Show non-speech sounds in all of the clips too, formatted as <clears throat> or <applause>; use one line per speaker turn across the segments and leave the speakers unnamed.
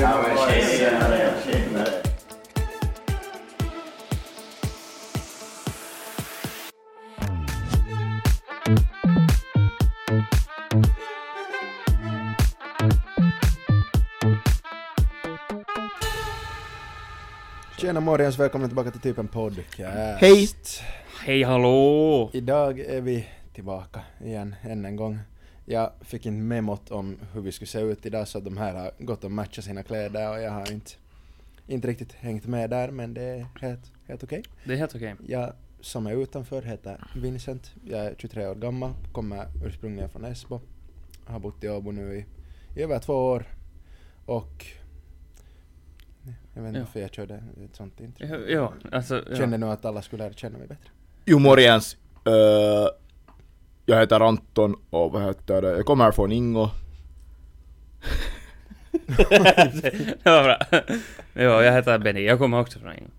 Ja, men tjenare, tjenare.
Tjena Morjens, välkomna tillbaka till typ typen podcast.
Hej! Hej hallå!
Idag är vi tillbaka igen, än en gång. Jag fick inte memot om hur vi skulle se ut idag så de här har gått och matchat sina kläder och jag har inte, inte riktigt hängt med där men det är helt, helt okej.
Det är helt okej.
Jag som är utanför heter Vincent, jag är 23 år gammal, kommer ursprungligen från Esbo, har bott i Åbo nu i, i över två år och jag vet inte
Ja.
varför jag körde ett sånt intro.
Ja, Ja, alltså... Ja.
Kände nog att alla skulle lära känna mig bättre.
Jo morjens. Eh, jag heter Anton och vad heter det? Jag kommer från Ingo.
<laughs> det var bra. ja, jag heter Benny. Jag kommer också från England.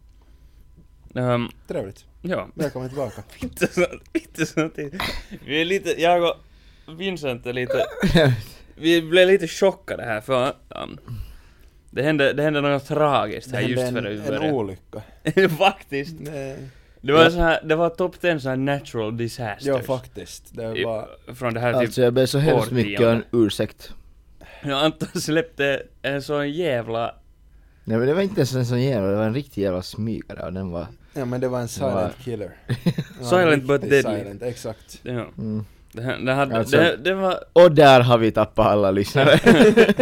Ehm,
Trevligt.
ja,
Välkommen tillbaka.
inte sånt, inte sånt. Vi är lite, jag och Vincent är lite... Vi blev lite chockade här för... ehm, det hände, det hände något tragiskt här <laughs> just före vi
en, en
började.
olycka.
<laughs> Faktiskt.
Nej.
Det var så här, det var topp 10 så här natural disasters.
Ja, faktiskt. Det
I-
var...
Från det här typ
Alltså jag ber så hemskt mycket om
årtionde.
ursäkt.
Ja, Anton släppte en sån eh, jävla...
Nej men det var inte ens en sån jävla, det var en riktig jävla smygare och den var...
Ja men det var en silent
var-
<laughs>
killer. Ja,
Silent but
riktigt
deadly.
Silent, exakt.
Ja.
Mm.
Den, den, hade,
Alltså-
den, den, var, <laughs>
Och där har vi tappat alla lyssnare.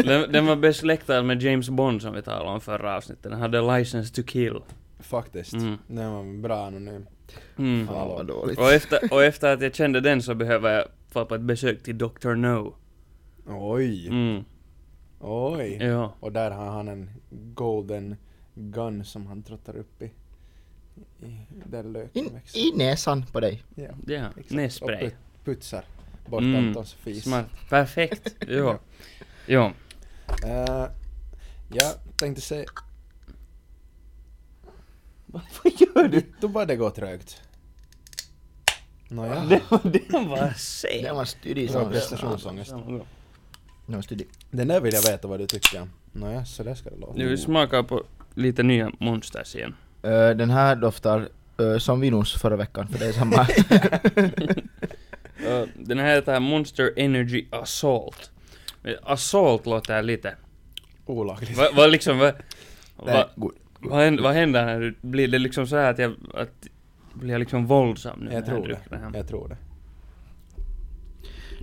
den, den var besläktad med James Bond som vi talade om förra avsnittet. Den hade License to kill.
Faktiskt.
Mm.
Den var bra anonym.
Mm.
Fan vad dåligt.
Och, efter, och efter att jag kände den så behöver jag få på ett besök till Dr. No.
Oj.
Mm.
Oj.
Ja.
Och där har han en golden gun som han trottar upp i. i där löken
In,
växer.
I näsan på dig.
Ja.
Ja.
exakt. Och
Nässpray.
put- putsar bort
Mm.
Antons fis.
Smart. Perfekt.
Ja.
Ja. Ja.
Eh, jag tänkte säga...
<laughs> Vad gör
Då bara det går trögt. Nåja.
<laughs>
<laughs>
Den var seg.
Den var stydig
Bra
som...
prestationsångest.
Den var stydig.
Den där vill jag veta vad du tycker om. Nåja, så där ska det låta.
Nu smakar på lite nya monsters igen.
Eh, den här doftar eh, som Vinus förra veckan för det är
<laughs>
samma.
Uh, den här heter Monster Energy Assault. Eh, Assault låter lite...
Olagligt.
Vad va liksom... Vad va,
Nej, god.
va händer, vad händer när du... Blir det liksom så här att jag... Att, blir jag liksom våldsam nu? när
Jag tror det.
dricker den här?
Jag tror det.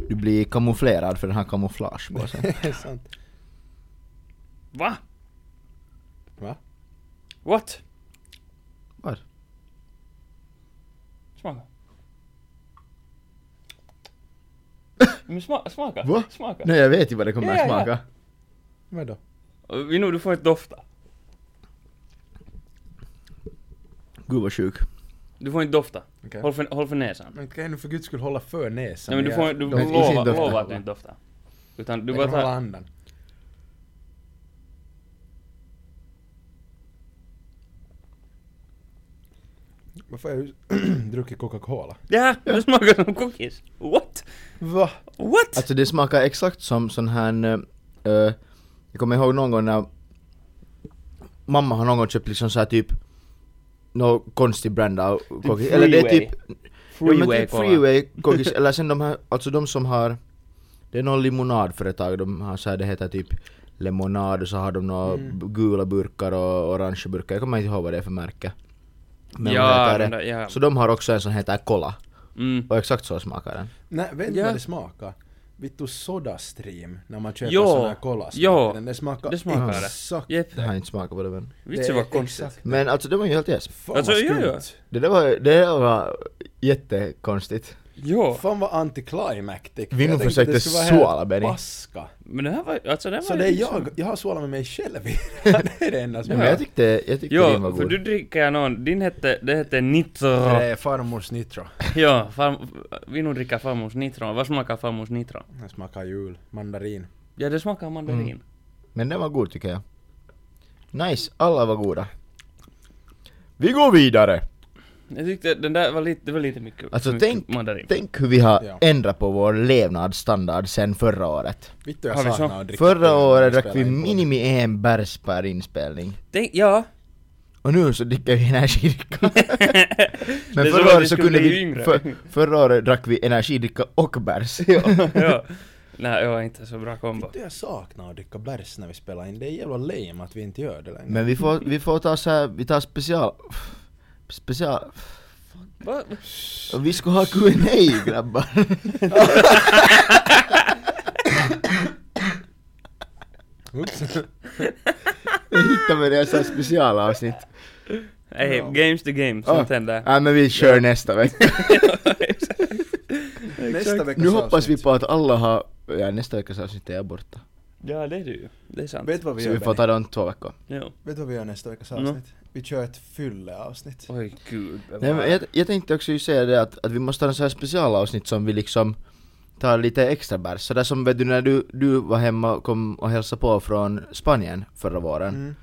<laughs>
Du blir kamouflerad för den
<laughs>
här kamouflagebåsen.
Det är sant.
Va?
Va?
What?
Vad?
Smaka. Men sma, smaka.
Va?
Smaka.
Nej jag vet ju vad det kommer
Ja, ja,
att
ja.
smaka.
Vadå?
Vino, du får inte dofta.
Gud vad sjuk.
Du får inte dofta.
Okej.
Håll, för, håll för näsan.
Men kan jag nu för guds skull hålla för näsan?
Nej men du får du
de- i sin
lova,
doftar.
lova att du inte doftar. Utan du
jag
bara
kan hålla
tar...
andan. Varför har jag <clears throat> ju druckit Coca-Cola?
Ja, det smakar som cookies. What?
Va?
What?
Alltså det smakar exakt som sån här... eh, eh, jag kommer ihåg någon gång när mamma har någon gång köpt liksom så här typ någon konstig brand av cookies. Eller det är typ... ja, men typ
cola.
freeway cookies. Eller sen de här, alltså de som har... Det är någon limonadföretag, de har så här, det heter typ lemonad och så har de några gula burkar och orange burkar. Jag kommer inte ihåg vad det är för märke. Men
Ja,
vad heter
den
det?
där, ja.
Så de har också en som heter Cola.
Mm.
Och exakt så smakar den.
Nej, vet
Ja.
vad det smakar? Vittu Sodastream när man köper
Jo.
sån här cola
Jo.
Den- Det smakar
Det smakar det.
exakt
Jep.
Jag har inte smakat på det men.
Vitsen var konstigt.
exakt.
Men alltså det var ju helt jäst.
Fan
Alltså,
vad
ja, ja.
skumt.
Det där var, det där var jättekonstigt.
Jo,
Fan vad anticlimactic.
Vinno
Jag tänkte
försökte
det skulle vara helt
såla, Benny.
Paska.
men det här var alltså det här
Så
var
det är
liksom-
jag, jag har sålat med mig själv
<laughs>
i det. är det enda som
Men jag tyckte, jag tyckte din var
Jo, för
god.
du dricker någon, din hette, det hette Nitro.
Det är farmors Eh, nitro.
Ja, far, vi nog dricker farmors Nitro. Vad smakar farmors Nitro?
Den smakar jul, mandarin.
Ja, det smakar mandarin.
Men den var god tycker jag. Nice, alla var goda. Vi går vidare!
Jag tyckte den där var lite, det var lite mycket,
Alltså,
för mycket
tänk-
mandarin.
Tänk hur vi har
Ja.
ändrat på vår levnadsstandard sen förra året.
Vittu jag
Har vi så?
saknar att dricka
Förra
öl när
året drack
spelar
vi
in podd.
minimi en bärs per inspelning.
Tänk, ja. <laughs>
Och nu så dricker vi energidricka.
Det är som
Men
att
förra
vi
året så
skulle
kunde
bli
vi...
yngre.
För, förra året drack vi energidricka och bärs.
ja. Nej, jag har inte så bra kombo.
Vittu jag saknar att dricka bärs när vi spelar in. Det är jävla lame att vi inte gör det längre.
Men vi får, vi får ta så här, vi tar special... Special...
Va?
Och vi ska ha Q&A grabbar.
<laughs> Oops.
Jag hittar med det så här specialavsnitt.
Nej, games to games, sånt
<laughs>
händer.
Nej men vi kör nästa vecka.
Nästa veckas
Nu hoppas vi
avsnitt.
på att alla har... Ja, nästa veckas avsnitt är jag borta.
Ja, det är du ju. Det är sant.
Vet du vad vi
Så
gör?
vi får
Benny?
ta det om två veckor.
Jo.
Vet du vad vi gör nästa veckas
Mm.
avsnitt? Vi kör ett fylleavsnitt.
Oj, gud.
Nej, men jag, jag tänkte också ju säga det att, att vi måste ha en sån här specialavsnitt som vi liksom tar lite extra bärs. Sådär som vet du när du, du var hemma och kom och hälsade på från Spanien förra våren.
Mm.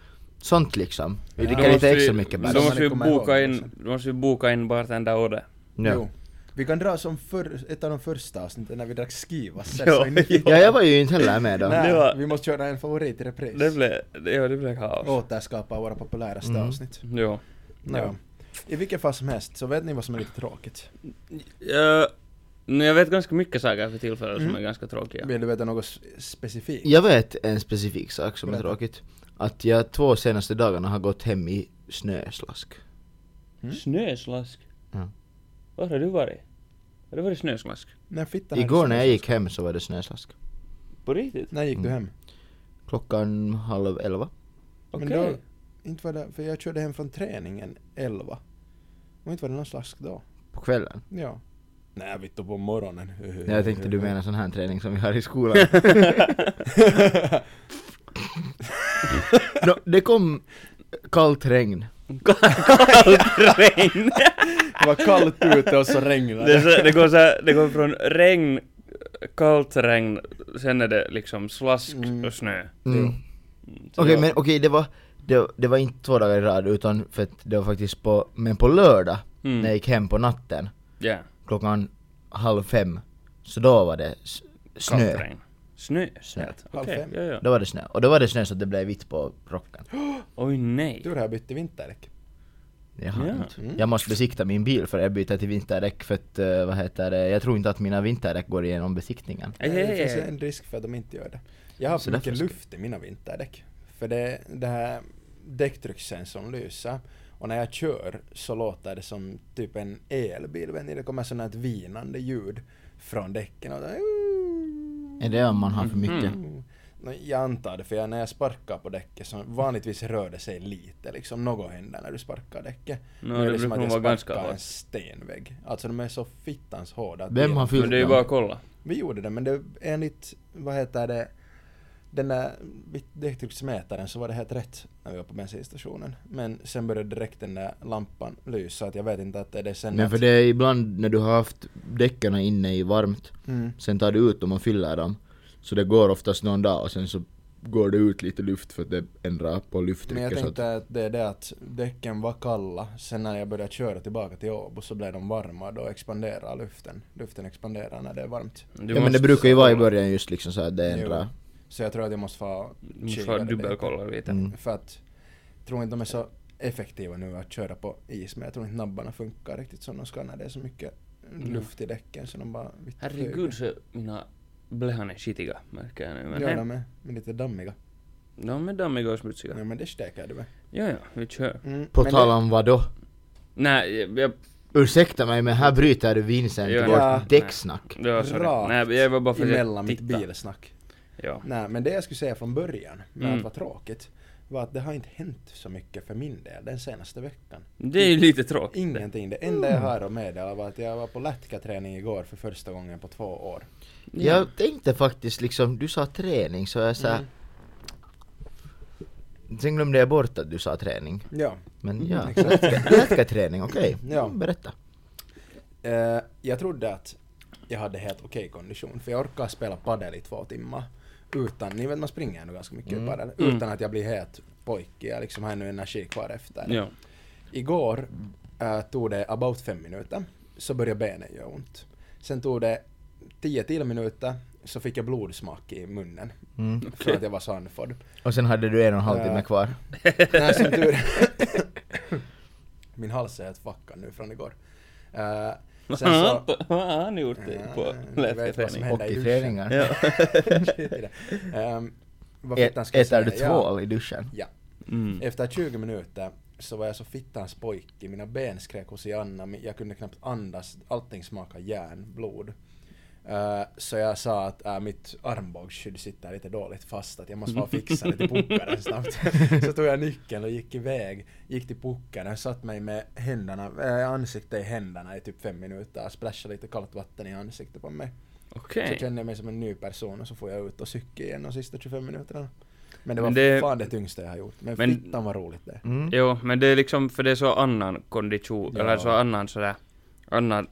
Sånt liksom. Vi
Ja.
dricker
Då
lite
måste vi-
extra mycket bärs.
Då
Som
måste
ni
vi
kommer
boka
ihåg,
in,
liksom.
då måste vi boka in bartender order.
Ja.
Jo. Vi kan dra som för, ett av de första avsnitten när vi drack skivas.
Ja,
<laughs> ja, jag var ju inte heller med då.
Det
Nej,
var-
vi måste köra en favorit i repris.
Det blev, det, ja, det blev kaos.
Återskapa våra populäraste
Mm.
avsnitt.
Jo.
Nå,
Ja.
I vilket fall som helst så vet ni vad som är lite tråkigt.
Uh, jag vet ganska mycket saker för tillfället som
Mm.
är ganska tråkiga.
Vill du veta något s- specifikt?
Jag vet en specifik sak som är
Berätta.
tråkigt. Att jag två senaste dagarna har gått hem i snöslask.
Mm.
Snöslask?
Ja.
Var har du varit? Har du varit snöslask?
När fittan hade
Igår när jag
snöslask.
gick Mm. hem så var det snöslask.
På riktigt?
När gick du hem?
Klockan halv elva.
Okej.
Men då, inte var det, för jag körde hem från träningen 11. Och inte var det någon slask då.
På kvällen.
Ja. Nej, vittu på morgonen.
Nej, jag tänkte du menar sån här träning som vi har i skolan.
<laughs>
Nå, det kom kallt regn.
Kallt regn!
Det var kallt ute och så regnade
<laughs> det, är så, det, går så här, det går från regn, kallt regn, sen är det liksom slask
Mm.
och snö.
Mm.
Jo.
Så
Okej,
det var-
men okej, det var... Det, det var inte två dagar i rad utan för att det var faktiskt på... Men på lördag,
Mm.
när jag gick hem på natten,
Ja,
klockan halv fem, så då var det s- snö.
kallt regn. Snö?
Snö.
Okej,
Halv fem.
ja, ja.
Då var det snö. Och då var det snö så att det blev vitt på rocken.
Oj nej.
Tur har jag bytte vinterdäck.
Jag,
Ja.
har inte.
Mm.
jag måste besikta min bil för jag byter till vinterdäck för att, eh, vad heter det, jag tror inte att mina vinterdäck går igenom besiktningen.
Aj,
Eh, det
aj,
finns
aj.
en risk för att de inte gör det. Jag har
Så
för mycket
därför ska-
luft i mina vinterdäck. För det, det här däcktryckssensorn lyser. Och när jag kör så låter det som typ en elbil. Vet ni, det kommer sånt här vinande ljud från däcken. Och
Är det om man har för mycket?
Mm. Nå, Jag antar det, för jag, när jag sparkar på däcket så vanligtvis rör det sig lite, liksom något händer när du sparkar däcket.
Nå,
Nu
det
är
brukar
som att
nog
jag
vara ganska
sparkar
hårt.
en stenvägg. Alltså de är så fittans hårda. att
Vem
vi-
har fyllt
Men det är ju
dem?
bara att kolla.
Vi gjorde det, men det, enligt, vad heter det, den där bit- däcktrycksmätaren så var det helt rätt när vi var på bensinstationen. Men sen började direkt den där lampan lysa, att jag vet inte att det är det sen
Men för
att,
det är ibland när du har haft däcken inne i varmt,
Mm.
sen tar du ut dem och fyller dem. Så det går oftast någon dag och sen så går det ut lite luft för att det ändrar på
Men jag
lufttrycket. så att-
tänkte att det är det att däcken var kalla, sen när jag började köra tillbaka till Åbo så blev de varma och då expanderar luften. Luften expanderar när det är varmt.
Du
Ja men det
måste-
brukar ju vara i början just liksom så att det
Jo.
ändrar.
Så jag tror att jag måste få
Du måste bara dubbelkolla lite.
Mm.
För att, jag tror inte de är så effektiva nu att köra på is, men jag tror inte nabbarna funkar riktigt som de ska när det är så mycket
Mm.
luft i däcken så de bara... vitt
Herregud så mina blehan är skitiga märker jag nu.
flyger.
Men
Ja,
hej.
de är, de är lite dammiga.
de är dammiga och smutsiga.
Ja, men det stekar du med.
Ja, ja, vi kör.
Mm,
På
men
tal
det-
om vadå?
Nej, jag... jag
Ursäkta mig men här bryter du Vincent
Ja.
vårt
Ja.
däcksnack.
det var sorry.
Rakt
Nej, jag var bara för att jag
emellan mitt
tittade.
bilsnack.
Ja.
Nej, men det jag skulle säga från början med
Mm.
att vara tråkigt var att det har inte hänt så mycket för min del den senaste veckan.
Det är ju lite tråkigt.
Ingenting. Det enda jag har att meddela var att jag var på lätkaträning igår för första gången på två år.
Jag tänkte faktiskt liksom, du sa träning så jag såhär...
Mm.
Sen glömde jag bort att du sa träning.
Ja.
Men ja,
Mm, exakt.
lätka- lätkaträning, okej.
Ja.
Mm, Berätta.
Eh, jag trodde att jag hade helt okej kondition för jag orkade spela padel i två timmar. Utan, ni vet man springer ändå ganska mycket i padel. Utan att jag blir helt pojkig. Jag liksom har ännu energi kvar efter. det.
Ja.
Igår eh, tog det about fem minuter, så började benen göra ont. Sen tog det tio till minuter, så fick jag blodsmak i munnen.
Mm.
För att jag var så andfådd.
Och sen hade du en och en halv timme
Ja.
kvar.
Nej, som tur <laughs> Min hals är helt fuckad nu från igår. Eh,
<laughs>
sen så...
Vad har han gjort det på
Ja, jag vet vad som hände
läkarträning?
Och
i
i
duschen.
träningar.
Ja.
Skit i det.
<laughs>
Ehm, vad
Ä-
fittan ska jag
Äter du
säga?
två
Ja.
i duschen?
Ja.
Mm.
Efter 20 minuter så var jag så fittans pojke, mina ben skrek hos Janna, men jag kunde knappt andas, allting smakade järn, blod. Eh, så jag sa att äh, mitt armbågsskydd sitter lite dåligt fast, att jag måste bara fixa det till puckaren
<laughs>
snabbt. så tog jag nyckeln och gick iväg, gick till puckaren, satt mig med händerna, äh, ansiktet i händerna i typ fem minuter, splashade lite kallt vatten i ansiktet på mig. Så
Okej.
kände jag mig som en ny person och så får jag ut och cykla igen de sista 25 minuterna. Men det var
Men det-
fan det tyngsta jag har gjort. Men,
Men-
fittan vad roligt det är.
Mm.
Jo, men det är liksom, för det är så annan kondition,
Ja.
eller så annan sådär, annan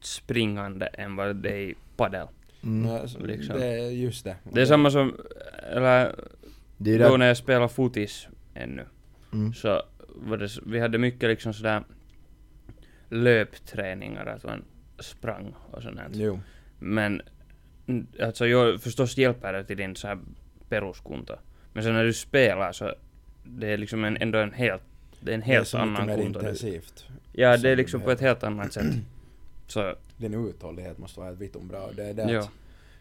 springande än vad det är i padel.
Mm.
Ja, så
Liksom.
Det är just det.
Det är samma som, eller
Det är ju
då
där...
när jag spelade fotis ännu,
Mm.
så var det, s- vi hade mycket liksom sådär löpträningar, att man sprang och sånt. här.
Jo.
Men mm, alltså jag förstås hjälper det till din så här peruskunta. Men sen när du spelar så det är liksom en, ändå en helt, det är en
det är
helt
så mycket
annan
mer
kunta. du-
intensivt.
Ja,
som
det är
du
liksom på ett
behöver.
helt annat sätt. <clears throat> Så,
Din uthållighet måste vara helt vittom bra. Det är det
ja.
att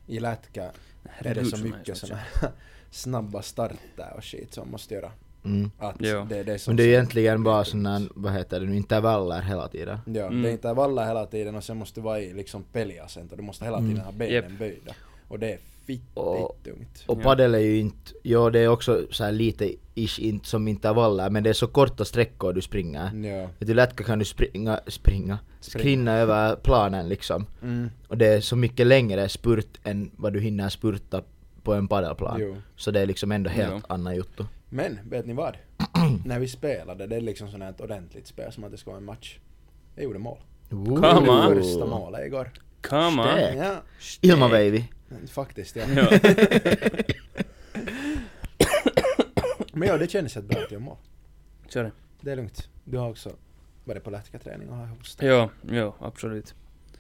i lätka är det
Gud,
så
som jag är
mycket
så
sådana <laughs> snabba starter och shit som måste göra.
Mm.
Att
Jo.
det, det är så
Men det är egentligen bara sådana, vad heter det nu, intervaller hela tiden.
Ja,
Mm.
det är inte valla hela tiden och sen måste du vara i liksom peliasento. Du måste hela tiden
Mm.
ha benen
Jep.
böjda. Och det är
Och-
fittigt tungt.
Och
Ja.
padel är ju inte, jo det är också så här lite ish inte som intervaller men det är så korta sträckor du springer.
Mm.
Ja.
Vet du lätt kan du springa, springa, skrinna över planen liksom.
Mm.
Och det är så mycket längre spurt än vad du hinner spurta på en padelplan.
Jo.
Så det är liksom ändå helt
Jo.
annan jotto.
Men, vet ni <clears throat> vad? När vi spelade, det är liksom sånt här ett ordentligt spel som att det ska vara en match. Jag gjorde mål.
Come
Det
on.
Första målet igår.
Come on!
Stäk.
Ja, Eh,
Ilma baby.
faktiskt ja.
Ja. <laughs>
Men ja, det kändes helt bra att göra mål.
Sorry.
Det är lugnt. Du har också varit på lätkarträning och har hosta.
Jo, jo, absolut.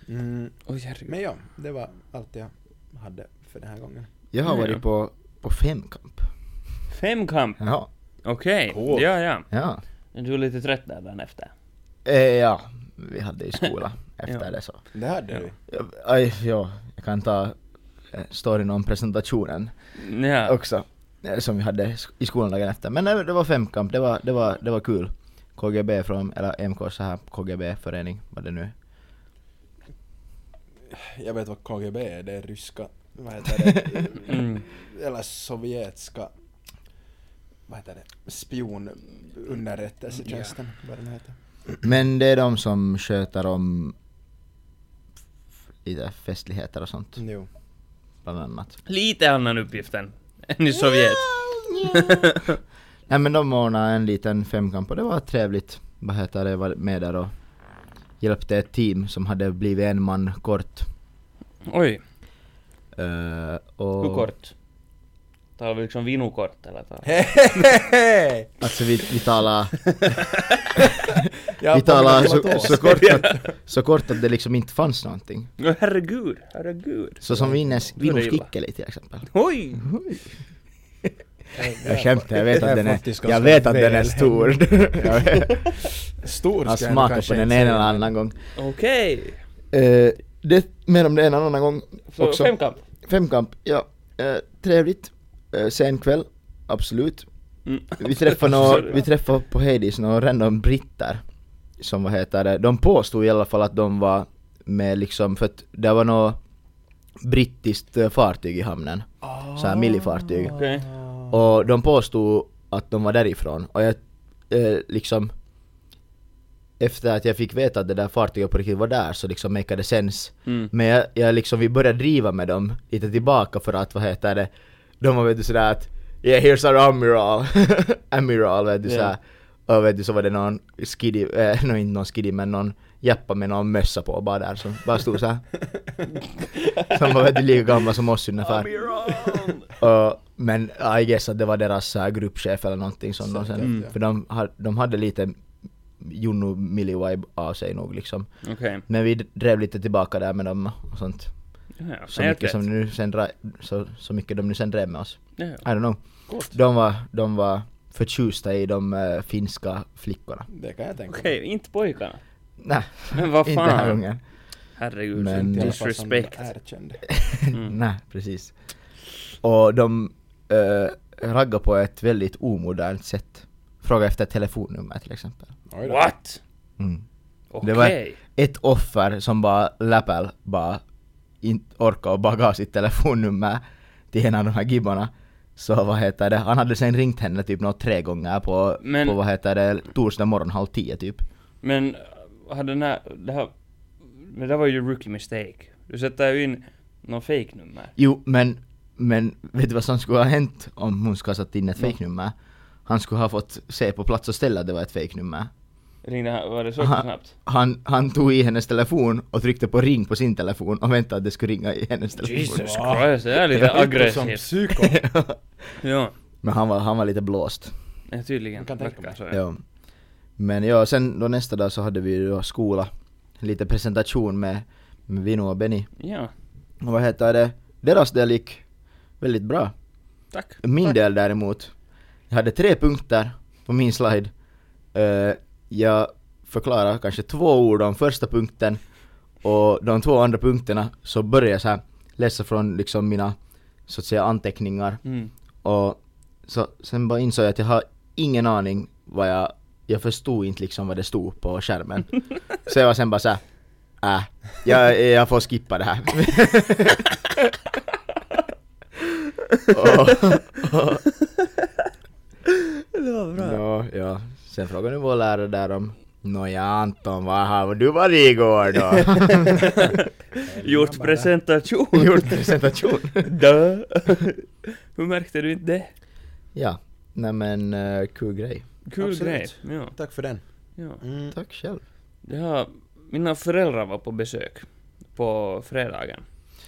Mm,
Oj herregud.
men ja, det var allt jag hade för den här gången.
Jag har
Ja,
varit
ja.
på, på femkamp.
Femkamp!
Ja.
Okej,
Cool.
ja ja.
Ja.
Du är lite trött där dagen efter.
Eh, ja. Vi hade i skola
<laughs>
efter
Ja.
det så.
Det hade
Ja.
du.
Ja, Aj, ja, jag kan ta eh, storyn om presentationen
Ja.
också. eh, Som vi hade sk- i skolan dagen efter. Men nej, det var femkamp, det var, det var, det var kul. KGB från, eller MK så här KGB-förening, vad det nu är.
Jag vet vad KGB är, det är ryska, vad heter det?
<laughs> Mm.
Eller sovjetiska, vad heter det? Spionunderrättelsetjänsten, vad den heter.
Men det är de som sköter om f- lite festligheter och sånt,
Jo.
bland annat.
Lite annan uppgift än än i Sovjet.
Nej men de ordnade en liten femkamp och det var trevligt. Vad heter det, jag var med där och hjälpte ett team som hade blivit en man kort.
Oj,
Eh, och
hur kort? Tar vi liksom vinokort eller? Tar...
Hehehe!
Alltså vi, vi talar,
Jag
vi talar
påminner om att-
så, så, kort att, så kort att det liksom inte fanns någonting.
Nå, herregud, herregud.
Så som Vinnes,
Då är det
Vinus
illa.
Kikkeli till exempel.
Oj!
Jag skämtar, jag vet
Det är
att den
faktiskt
är, jag
ganska
vet att den är
väl <laughs>
stor. Jag vet.
Stor
Han
ska jag
smakar
kanske
på den
inte
en
säga.
eller annan gång.
Okej.
Eh, det, mer om det en annan gång
Så
också.
femkamp?
Femkamp, ja. Eh, trevligt. Eh, sen kväll, absolut.
Mm.
Vi träffade, nå, vi träffade på Heidis några random britter. Som vad heter det, de påstod i alla fall att de var med liksom, för att det var något brittiskt eh, fartyg i hamnen. Så här millifartyg.
Okej. Ah.
Och de påstod att de var därifrån. Och jag eh, liksom... Efter att jag fick veta att det där fartyget på riktigt var där så liksom make det sense.
Mm.
Men jag, jag liksom, vi började driva med dem lite tillbaka för att, vad heter det, de var vet du sådär att Yeah here's our amiral, <laughs> amiral vet du
Ja.
såhär. Och vet du så var det någon skiddy, eh, <laughs> no, inte någon skiddy men någon jappa med någon mössa på bara där som bara
<laughs>
stod såhär. som var vet du lika gammal som oss ungefär.
Amiral!
Och- men äh, I guess att det var deras så här, gruppchef eller någonting som de sen,
Säkert, ja.
för de, ha- de hade lite Junnu Milivibe av sig nog liksom.
Okej. <laughs> Okay.
Men vi drev lite tillbaka där med dem och sånt.
Ja,
Så mycket som de nu sen dra, så, så mycket de nu sen drev med oss.
Ja,
I don't know.
Coolt.
De var, de var förtjusta i de eh, finska flickorna.
Det kan jag tänka
Okej, inte pojkarna. <laughs>
Nej,
Men vad
inte den här
fan.
gången.
Herregud,
Men-
mig.
disrespect.
Erkänd.
Mm.
<laughs> Nej, precis. Och de äh, raggar på ett väldigt omodernt sätt. Fråga efter telefonnummer till exempel.
Oj då.
What?
Mm.
Okej.
Det var- Ett offer som bara läppel bara inte orkade och bara gav sitt telefonnummer till en av de här gibbarna. Så vad heter det, han hade sen ringt henne typ något tre gånger på,
Men-
på vad heter det, torsdag morgon halv tio typ.
Men, hade den här, det här, det där var ju rookie mistake. Du sätter ju in någon fake nummer.
Jo, men, men vet du vad som skulle ha hänt om hon skulle ha satt in ett
Nej.
fejknummer? Han skulle ha fått se på plats och ställe att det var ett fejknummer.
Ringde han, var det så
Aha.
snabbt?
Han, han tog i hennes telefon och tryckte på ring på sin telefon och väntade att det skulle ringa i hennes telefon.
Jesus
Wow.
Christ, det är lite
Som
aggressivt.
psyko.
Ja,
<laughs> men han var, han var lite blåst.
ja, tydligen.
Man kan tänka
Verkar
mig.
så, ja.
Ja. Men ja, sen då nästa dag så hade vi ju då skola. Lite presentation med, med Vino och Benny.
ja,
Och vad heter det? Deras del gick väldigt bra.
tack.
Min del däremot, jag hade tre punkter på min slide. Eh, jag förklarar kanske två ord om första punkten och de två andra punkterna så börjar jag så här läsa från liksom mina så att säga anteckningar
Mm.
och så, sen bara insåg jag att jag har ingen aning vad jag, jag förstod inte liksom vad det stod
<laughs>
på skärmen. så jag var sen bara såhär, äh, jag, jag får skippa det här.
<laughs>
och, och,
Det var
ja, ja. Sen frågade vår lärare där om Nåja Anton, vad har du varit igår då?
Gjort presentation!
<laughs> Gjort presentation.
Dö! <laughs> Hur märkte du inte det?
ja, nej men eh, kul grej.
Kul
Absolut.
grej. Ja,
Tack för den.
ja.
Mm.
Tack själv.
Det har, mina föräldrar var på besök på fredagen.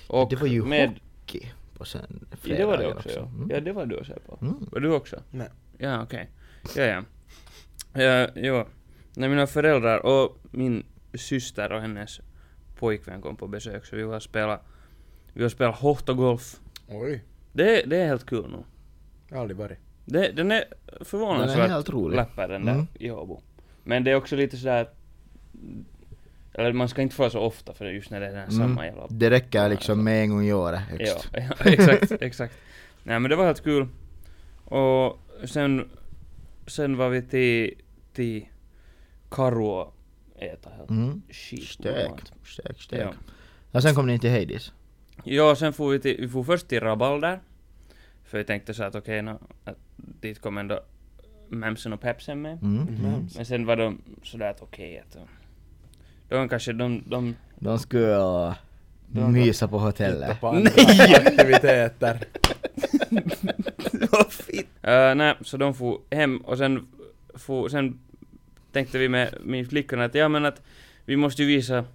Och
det var ju
med,
hockey på sen
ja, det var det
fredagen
också, ja.
Mm.
Ja, det var du också på.
Mm.
Var du också?
Nej.
Ja, okej. Ja, ja. ja jo. När mina föräldrar och min syster och hennes pojkvän kom på besök så vi var och spela, vi var och spela hottogolf.
Oj.
Det, det är helt kul nog.
Jag har aldrig varit.
Det, den är
Den är
förvånansvärt
helt rolig.
läppar den där
Mm.
i Åbo. Men det är också lite sådär att- eller man ska inte få så ofta för just när det är den här samma jävla...
Mm. Det räcker liksom
Ja,
med en gång i året
Ja,
högst.
ja, <laughs> exakt, exakt. Nej men det var helt kul. Och sen, sen var vi till, till Karuo äta helt
Mm.
skitgod
Stök,
mat.
stök,
Ja.
stök. Ja, sen kom ni till Hades.
Ja, sen får vi till, vi får först till Rabalder. För jag tänkte så att okej, nå, att dit kom ändå Mamsen och Pepsen med.
Mm.
Mhm.
Men sen var de sådär att okej att de, de kanske, de, de,
De skulle uh,
De-
mysa på
Titta
hotellet.
på andra aktiviteter.
Eh, nej, så de for hem och sen, for, sen tänkte vi med, med flickorna att ja men att vi måste ju visa,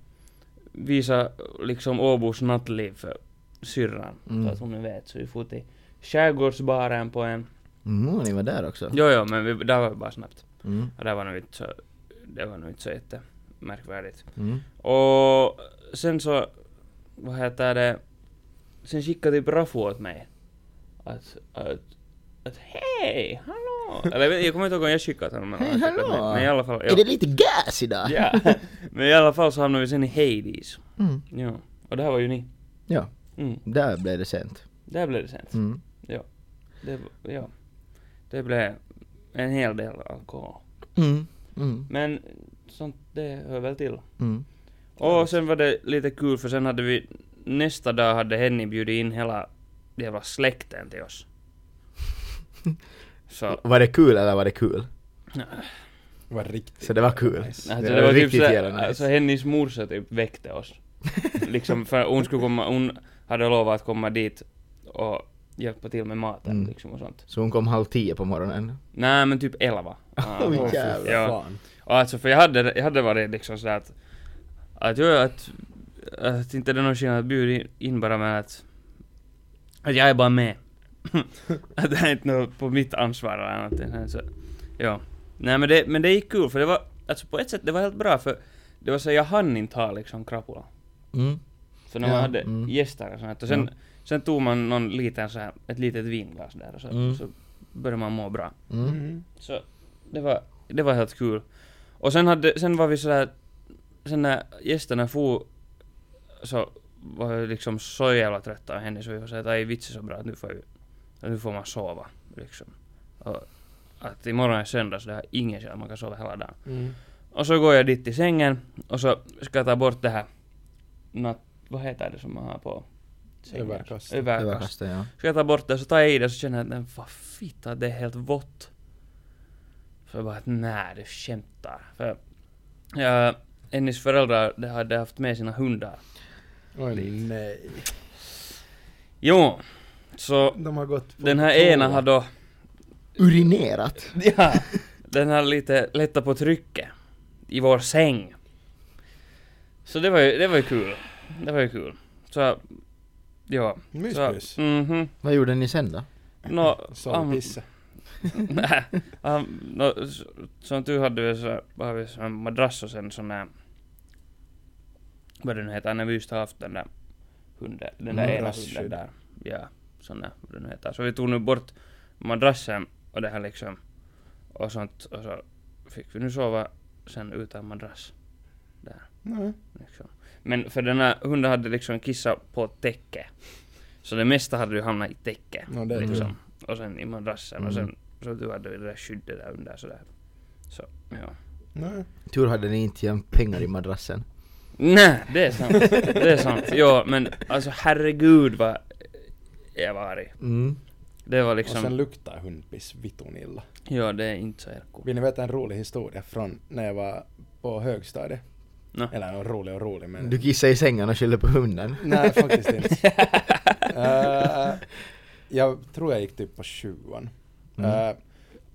visa liksom Åbos nattliv för syrran.
Mm.
Så att hon nu vet, så vi for till skärgårdsbaren på en,
Mm, ni var där också.
jo jo men vi, där var vi bara snabbt.
Mm.
Och det var nog inte så, det var nog inte så jättemärkvärdigt.
Mm.
Och sen så, vad heter det, sen skickade typ Rafu åt mig att, att, att hej, hallå! Eller jag vet- jag kommer inte ihåg om jag skickat åt honom. men han
Hej
skickade åt mig.
hallå!
Men i alla fall,
Är
ja.
det lite gas idag?
ja. Men i alla fall så hamnade vi sen i Hades.
<laughs> Mm.
Ja. Och det här var ju ni.
Ja,
Mm.
där blev det sent.
Där blev det sent.
Mm.
Det, var- ja. Det blev en hel del alkohol.
Mm. Mm.
Men sånt, det hör väl till.
Mm.
Och sen var det lite kul för sen hade vi nästa dag hade Henny bjudit in hela jävla släkten till oss. Så,
<laughs> Var det kul eller var det kul?
Vad riktigt.
Så det var kul.
Nice.
alltså det,
det var
var typ
riktigt
sådär,
jävla nice.
alltså Hennys morsa typ väckte
<laughs>
oss. liksom för hon skulle komma, hon hade lovat att komma dit och hjälpa till med maten
Mm.
liksom och sånt.
Så hon kom halv tio på morgonen.
Nej men typ
<laughs>
elva. Ja.
Oj,
Åh, fy
jävlar.
Ja.
fan.
Och alltså för jag hade, jag hade varit liksom sådär att, att jag, att, att inte det är någon skillnad att bjuda in- in bara men att, att jag är bara
<laughs>
med. att det Alltså, här är inte något på mitt ansvar eller någonting. Så, ja. Nej men det, men det gick kul för det var, alltså på ett sätt det var helt bra för det var så jag hann inte ha liksom krapula.
Mm.
För när
Ja,
man hade
mm.
gäster och sånt och sen, sen tog man någon liten så här, ett litet vinglas där och så,
Mm.
så började man må bra.
Mm.
Mm.
Så det var, det var helt kul. Och sen hade, sen var vi sådär, sen när gästerna for så var jag liksom så jävla trötta av henne så vi var såhär att aj vits är så bra att nu får, jag, nu får man sova liksom. Och att imorgon är söndag så det har ingen chans, man kan sova hela dagen.
Mm.
Och så går jag dit till sängen och så ska jag ta bort det här natt... Vad heter det som man har på sängen?
Överkast.
Överkast.
Överkastet, ja.
Ska jag ta bort det så tar jag i det så känner jag att nej, vad fitta det är helt vått. Så jag bara att nej du skämtar. För jag, Ennis föräldrar de hade haft med sina hundar.
Oj nej.
Jo, så
De har gått på
den här
toa.
ena har då,
Urinerat.
ja, den har lite lättat på trycket i vår säng. Så det var ju, det var ju kul. Det var ju kul. Så, ja.
Myspys.
Så, mhm.
Vad gjorde ni sen då?
<laughs>
Nå,
Sov
am-
och pissa.
Nej, han, no, s- som tur hade vi så har vi sån madrass och sen sån här... Vad det nu heter, när vi just har haft den där hunden, den där ena
Madrasskydd.
hunden där. Ja, sån där, vad det nu heter. Så vi tog nu bort madrassen och det här liksom och sånt och så fick vi nu sova sen utan madrass.
Nej.
Liksom. Men för den här hunden hade liksom kissat på täcket. Så det mesta hade ju hamnat i täcket.
No, det typ-
Mm.
tror jag.
liksom. Och sen i madrassen
Mm.
och sen så du hade det där skyddet där under sådär. Så, ja.
Nej.
Tur hade ni inte gömt pengar i madrassen.
Nej, det är sant. det är sant. Ja, men alltså herregud vad jag var arg.
Mm.
Det var
Och sen
liksom,
luktar hundpiss vitun illa.
ja det är inte så erko.
<laughs> Vill ni veta en rolig historia från när jag var på högstadiet?
Nå.
Eller ja, rolig och rolig men...
Du kissade i sängen och skyllde på hunden.
Nej faktiskt inte. Eh, jag tror jag gick typ på sjuan.
Mm.
Eh,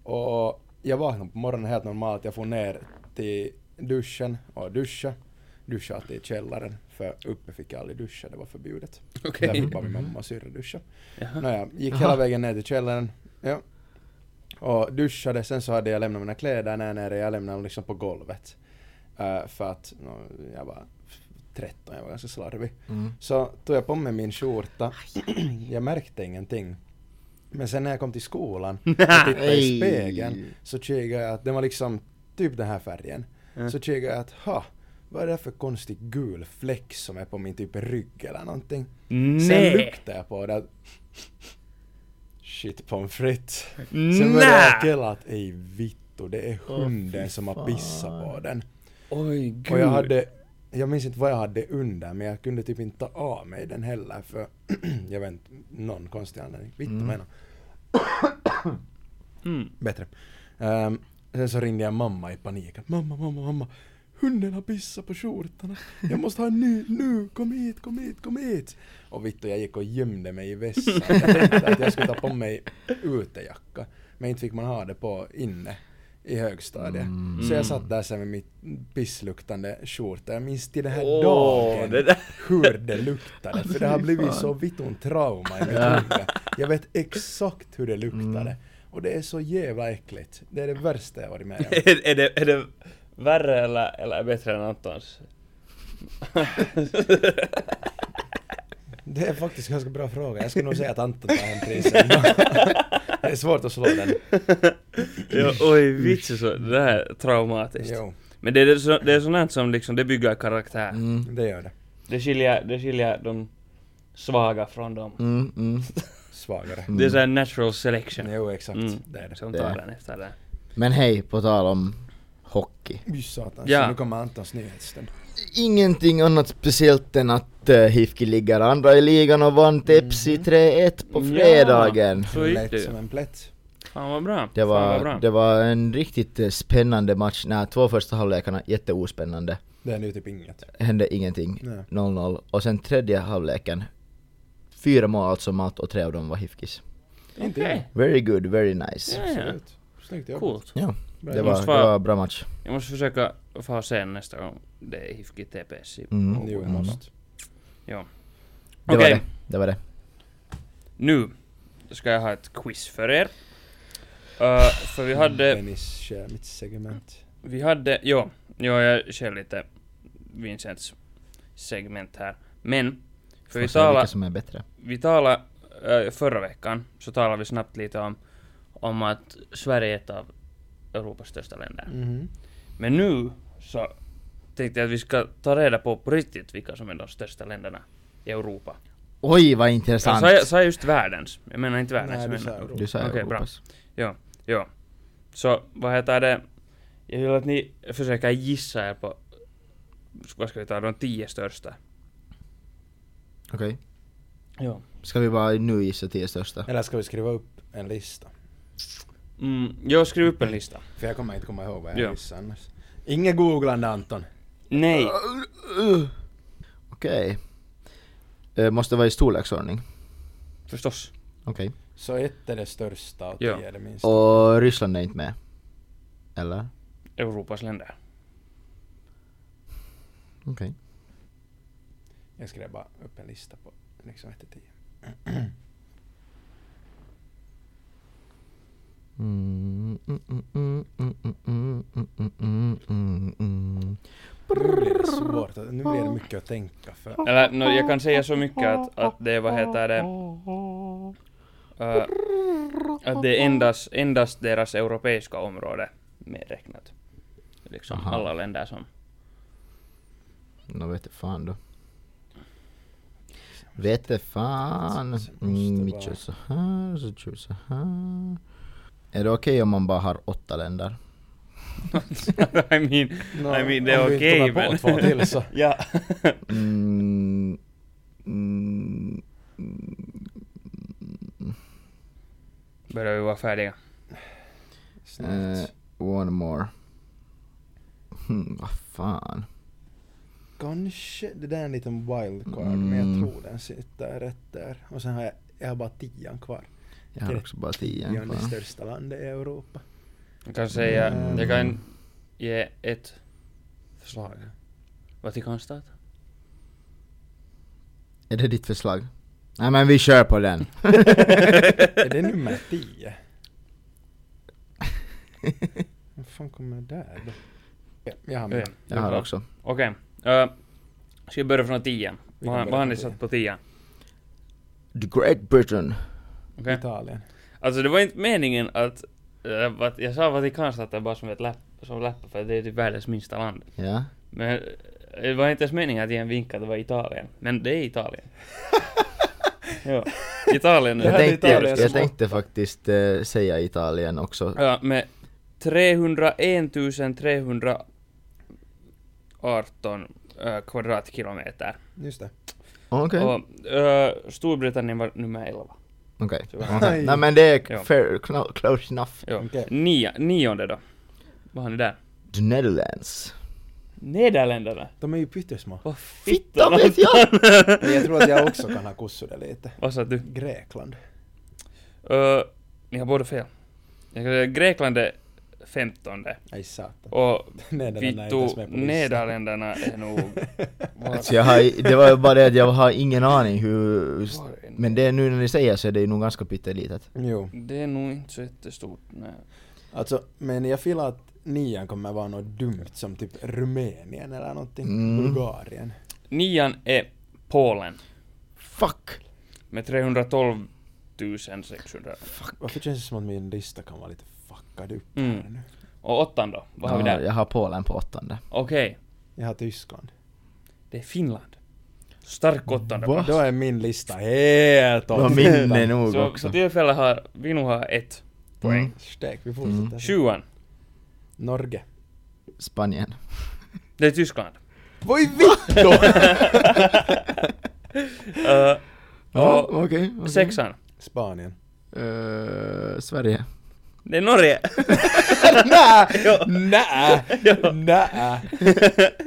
och jag vaknade på morgonen helt normalt. Jag får ner till duschen och duscha. Duscha alltid i källaren. För uppe fick jag aldrig duscha, det var förbjudet.
Okej.
Därför bara min mamma och syrra duscha.
Jaha.
Nåja, gick
Jaha.
hela vägen ner till källaren. Ja. Och duschade, sen så hade jag lämnat mina kläder där nere, jag lämnade dem liksom på golvet. Eh, för att nå, jag var 13, jag var ganska slarvig.
<laughs>
Mm.
Så tog jag på mig min skjorta, jag märkte ingenting. Men sen när jag kom till skolan och tittade i
Ej.
spegeln så kikade jag att den var liksom typ den här färgen.
Mm.
Så kikade jag att ha, vad är det för konstig gul fläck som är på min typ rygg eller någonting? Sen
Nej!
luktade jag på det att Shit pommes frites.
Mm.
Sen började jag
Nej!
killa att ej vittu, det är hunden som har pissat på den.
Oj gud.
Och jag hade, jag minns inte vad jag hade under men jag kunde typ inte ta av mig den heller för <clears throat> jag vet inte, någon konstig anledning. Vittu
Mm.
menar.
Mm.
Bättre. Ehm, sen så ringde jag mamma i panik. att Mamma, mamma, mamma. Hunden har pissat på skjortan. Jag måste ha en ny nu. Kom hit, kom hit, kom hit. Och vittu, jag gick och gömde mig i vässan. Jag tänkte att jag skulle ta på mig utejacka. Men inte fick man ha det på inne i högstadiet.
Mm.
Så jag satt där sen med mitt pissluktande skjorta. Jag minns till den här
Åh,
dagen
det där.
hur det luktade. För det har blivit så vitun trauma i mitt huvud. Jag vet exakt hur det luktade.
Mm.
Och det är så jävla äckligt. Det är det värsta jag varit med om.
är, är, det, är det värre eller, eller bättre
<laughs>
än Antons?
Det är faktiskt en ganska bra fråga. Jag skulle nog säga att Anton tar hem
<laughs>
priset. det är svårt att slå den.
ja, oj vitsen så, det här är traumatiskt.
Jo,
Men det är, så, det är sånt här som liksom, det bygger karaktär.
Mm.
det gör det.
Det skiljer, det skiljer de svaga från dem.
Mm. Mm.
Svagare.
Det är såhär natural selection.
Jo, exakt.
Mm.
Det är det.
Som
Det
tar
är.
den efter det.
Men hej, på tal om hockey.
Fy satan,
Ja.
så nu kommer Antons nyhetsstund.
Ingenting annat speciellt än att eh, Hifki ligger andra i ligan och vann Tepsi 3-1 på
Mhm. Ja.
fredagen.
Så gick det
Lätt
ju.
som en plätt.
Fan vad bra.
Det
Fan vad
var,
bra.
det var en riktigt eh, spännande match. Nej, två första halvlekarna jätteospännande.
Det är nu typ inget.
Hände ingenting.
Nej.
0-0. Och sen tredje halvleken. Fyra mål alltså mat och tre av dem var Hifkis.
Inte
Okej.
Very good, very nice.
Ja, ja.
Absolut. Snyggt jobbat.
Coolt.
Ja,
Bra
det var,
jobbat.
det
vara-
var bra match.
Jag måste försöka få se en nästa gång. Det är Hifki TPS. i
Mm.
Åbo.
Jo,
Mm.
måste.
Ja.
Det
Okej,
var det. Det var det.
nu ska jag ha ett quiz för er. Eh, för vi hade...
Dennis kör Mm. mitt segment.
Vi hade, jo, jo jag kör lite Vincents segment här. Men, för vi
Får se
talar
vilka som är bättre.
vi talade äh, förra veckan, så talade vi snabbt lite om, om att Sverige är ett av Europas största länder.
Mhm.
Men nu så tänkte jag att vi ska ta reda på på riktigt vilka som är de största länderna i Europa.
Oj vad
Ja,
intressant!
sa, jag, sa jag just världens? Jag menar inte
Nej,
världens,
du
men
sa Europa.
Du sa
Okej, bra.
Europas.
Ja, ja. Så vad heter det? Jag vill att ni försöker gissa er på, vad ska vi ta, de tio största.
Okej.
Ja.
Ska vi bara nu gissa tio största?
Eller ska vi skriva upp en lista?
Mm, jag skriver upp en lista.
För jag kommer inte komma ihåg vad
Ja.
jag missade annars. Inget googlande Anton.
Nej.
Okej. Eh, måste vara i storleksordning.
Förstås.
Okej.
Så ett är det största och
Ja.
tio är det minsta.
Och Ryssland är inte med? Eller?
Europas länder.
Okej.
Jag skrev bara upp en lista på liksom ett till tio.
Mm, mm, mm, mm, mm, mm, mm, mm, mm, mm, mm, mm.
Nu blir det svårt, att- nu blir det mycket att tänka för.
Eller no, jag kan säga så mycket att, att det, vad heter det? Äh, att det är endast, endast deras europeiska område medräknat. Liksom
Aha.
alla länder som... <laughs>
Nå vet jag fan då. Vet jag fan.
Så- så måste
Mm, vi
vara-
kör så här, så kör vi så här. Är det okej om man bara har åtta länder?
I mean,
Nå,
I mean, det är
om vi inte
okej,
kommer på
men-
två till
<laughs>
så.
ja.
Mm, mm,
Börjar vi vara färdiga.
eh,
Snällt.
one more. Hmm, vad fan.
Kanske, det där är en liten wildcard men jag
Mm.
tror den sitter rätt där. Och sen har jag, jag har bara tian kvar.
Jag har också bara
Vi
tio
är det
kvar.
största landet i Europa.
Jag kan säga,
Mm.
jag kan ge ett förslag. Vatikanstat?
Är det ditt förslag? Nej men vi kör
<laughs>
på den.
Är det nummer
<laughs>
tio? Vad fan kommer det där då? Ja, Jag har med.
Jag har
Bra.
också.
Okej. Eh, ska jag börja från tian?
Vi kan
Vad har-
börja
vad har
från
ni
tian.
satt på tian?
The Great Britain.
Okej.
Italien.
Alltså det var inte meningen att... eh, vad- jag sa Vatikanstaten bara som ett läpp, som läpp för det är typ världens minsta land.
Ja.
Men eh, det var inte ens meningen att ge en vink att det var Italien. Men det
<laughs>
är Italien. ja. Italien är
Det
Jag
här är
tänkte,
Italien
jag,
som
jag tänkte faktiskt eh, säga Italien också.
Ja, med 301 318 eh, kvadratkilometer.
Just det.
Okej. Okej.
Och eh, Storbritannien var nummer 11.
Okej.
Aj.
Nej men det är
Ja.
fair, kno- close enough.
Ja.
Okej.
Nia, nionde då. Vad har ni där?
The Netherlands.
Nederländerna.
De är ju
<laughs>
pyttesmå.
Vad
Fitta vet jag!
Men jag tror att jag också kan ha kossorna lite.
Vad sa du?
Grekland.
Ö, ni har båda fel. Jag kan säga Grekland är femtonde.
Nej satan.
Och
<laughs> Nederländerna är inte ens
vittu,
med på listan.
Nederländerna
<laughs>
är nog... Var,
Alltså jag har, det var ju bara det att jag har ingen aning hur...
var är det?
Men det är nu när ni säger så är det nog ganska pyttelitet.
Jo.
Det är nog inte så jättestort. Nej.
Alltså, men jag filar att nian kommer vara något dumt som typ Rumänien eller någonting.
Mm.
Bulgarien.
Nian är Polen
Fuck!
med 312 600.
Varför känns det som att min lista kan vara lite fuckad upp
Mm.
här nu?
Och åttan då? Vad har vi
Ja,
där?
jag har Polen på åttonde.
Okej,
Jag har Tyskland.
det är Finland. Stark åttonde
Va?
plats.
Då är min lista helt
Du har minne nog
Så för
också.
tillfället har vi nog har ett poäng.
Mm.
Stek, vi fortsätter.
Mm.
Sjuan,
Norge.
<laughs> Spanien.
det är Tyskland.
Voi vittu!
Ö,
Ja,
och
okej. okej.
sexan,
<laughs>
Spanien.
Eh, Sverige.
det är Norge.
Nä! Nä!
<laughs>
Nä!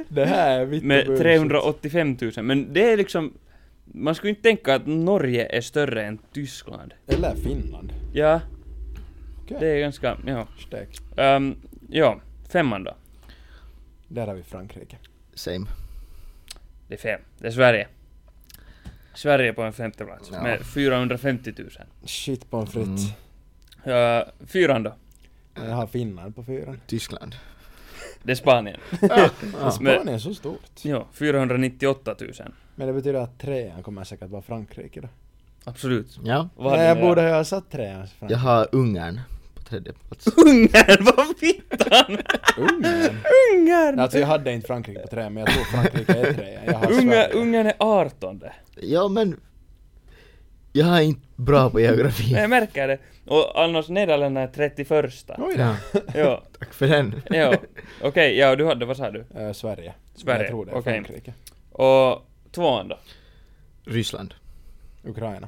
Det här är vitt och
med
bullshit.
385 000. Men det är liksom... Man skulle inte tänka att Norge är större än Tyskland.
Eller Finland.
Ja,
Okej.
det är ganska... Ja.
Stek.
Ehm, ja, femman då.
Där har vi Frankrike.
Same.
Det är fem. Det är Sverige. Sverige på en femte plats
Ja.
med 450 000.
Shit pommes frites.
Mm.
Ö, fyran då. Mm.
Jag har Finland på fyran.
Tyskland.
Det är Spanien.
<laughs>
<laughs>
Ja. Spanien är så stort.
Ja, 498 000.
Men det betyder att trean kommer säkert vara Frankrike då.
Absolut.
Ja.
Vad hade
Nej,
ni
jag
där?
borde ha satt trean. Frankrike.
Jag har Ungern på tredje plats.
<laughs> Ungern, vad fittan!
Ungern.
Ungern!
Alltså jag hade inte Frankrike på trean, men jag tror Frankrike är trean. Jag har
Unga,
Sverige.
Ungern är 18.
Ja men... Jag är inte bra på
Nej,
geografi.
jag märker det. Och annars Nederländerna är 31. <laughs>
Oj då.
Ja,
Ja,
tack för den.
ja. Okej, ja du hade, vad sa du?
Eh, Sverige.
Sverige,
Jag tror det är
okej.
Frankrike.
Och tvåan då?
Ryssland.
Ukraina.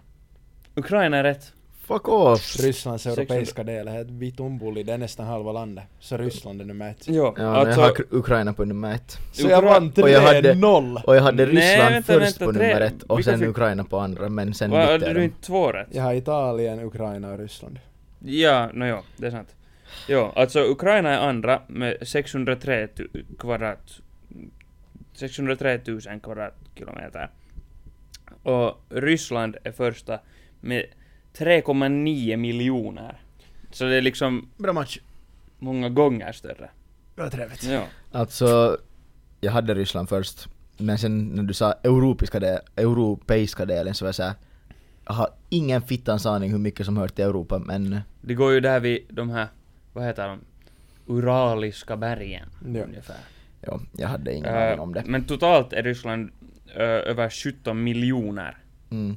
Ukraina är rätt.
Fuck off!
Rysslands europeiska del är ett vitt omboli, det är nästan halva landet. Så Ryssland är nummer ett.
Ja,
Ja, men
alltså...
jag har Ukra- Ukraina på nummer ett.
Så jag vann
Och jag hade-
3-0!
Och jag hade
Nej,
Ryssland
vänta,
först
vänta,
på
tre-
nummer ett och
vilka
sen
fick-
Ukraina på andra men sen
Vad,
bytte jag
hade du
dem.
inte två rätt?
Jag har Italien, Ukraina och Ryssland.
Ja, no jo, det är sant. Jo, alltså Ukraina är andra med 603 tu- kvadrat... 603 000 kvadratkilometer. Och Ryssland är första med 3,9 miljoner. Så det är liksom
Bra match.
många gånger större.
Det var trevligt.
Ja.
Alltså, jag hade Ryssland först. Men sen när du sa europeiska, del, europeiska delen så var jag såhär, jag har ingen fittans aning hur mycket som hör till Europa men
Det går ju där vid de här, vad heter de? Uraliska bergen,
Ja.
ungefär.
ja, jag hade ingen
Äh,
aning om det.
Men totalt är Ryssland äh, över 17 miljoner.
Mm,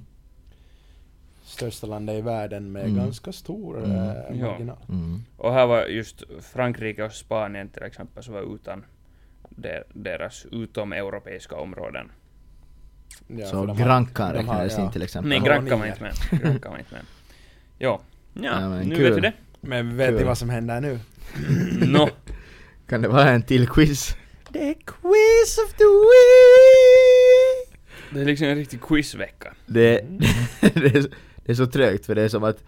Största landet i världen med
Mm.
ganska stor
Mm.
eh,
Ja.
marginal.
mm.
Och här var just Frankrike och Spanien till exempel som var utan de, deras utom-europeiska områden.
Ja,
så
för de har-
Grankan
de har-
räknades
ja.
in till exempel.
Nej,
har
Granca
ni
var
här?
inte med. Granca var inte med. Jo. Ja,
Ja, men
nu
kul.
vet vi
<laughs>
det.
Men vet ni
Kul.
vad som händer nu?
Nå,
Kan det vara en till quiz?
Det är quiz of the week!
det är liksom en riktig quizvecka.
Det, <laughs> det, är, det är så trögt för det är som att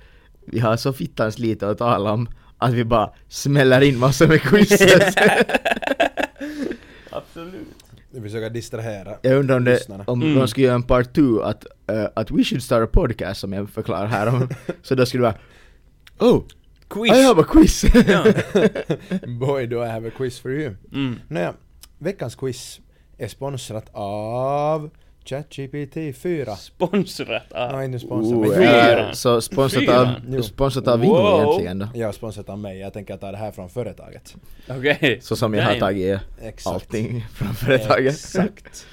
vi har så fittans lite att tala om att vi bara smäller in massor med quizzes.
Absolut.
Vi försöker distrahera.
Jag undrar om, det,
Lyssnarna.
om
Mm.
de skulle göra en part 2 att, eh, att we should start a podcast som jag förklarar här
<laughs>
om. så då skulle det vara Oh,
Quiz!
I have a quiz! <laughs>
Ja.
Boy do I have a quiz for you.
Mm.
Nåja, veckans quiz är sponsrat av ChatGPT 4.
Sponsrat av...
Nej, inte sponsrat,
Oh,
men
eh,
Fyran.
så sponsrat
Fyran.
av, sponsrat av Ingo
Wow.
egentligen då.
jag har sponsrat av mig. Jag tänker ta det här från företaget.
Okej.
Så som jag har
Damn.
tagit
Exakt.
allting från företaget.
Exakt.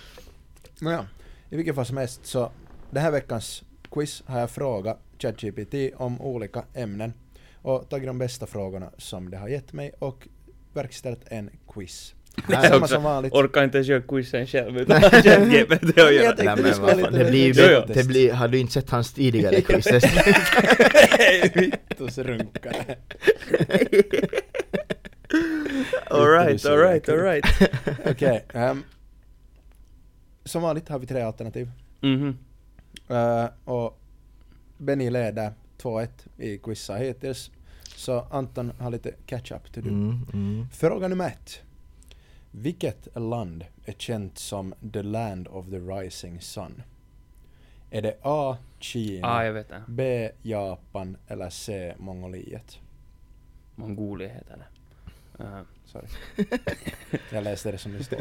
Nåja, i vilket fall som helst så den här veckans quiz har jag frågat ChatGPT om olika ämnen och tagit de bästa frågorna som det har gett mig och verkställt en quiz.
Nej,
Samma
också.
som vanligt.
Orkar inte ens göra quizen själv utan ChatGPT och
Jag
göra
tänkte
Nej,
vi
men
ska
vad
lite
fan, det blir ju
Jo, jo.
bättre. Det blir, har du inte sett
<laughs>
hans tidigare quizzes?
Vittusrunkare.
Alright, alright, alright.
Okej. ehm, som vanligt har vi tre alternativ.
Mhm.
Eh, och Benny leder 2-1 i quizza hittills. Så Anton har lite catch-up to do.
<laughs> Mm, mm.
Fråga nummer ett. Vilket land är känt som the land of the rising sun? Är det A. Kina,
Ah, jag vet det.
B. Japan eller C. Mongoliet?
Mongolia heter det. Äh, <laughs>
Sorry. jag läste det som det står.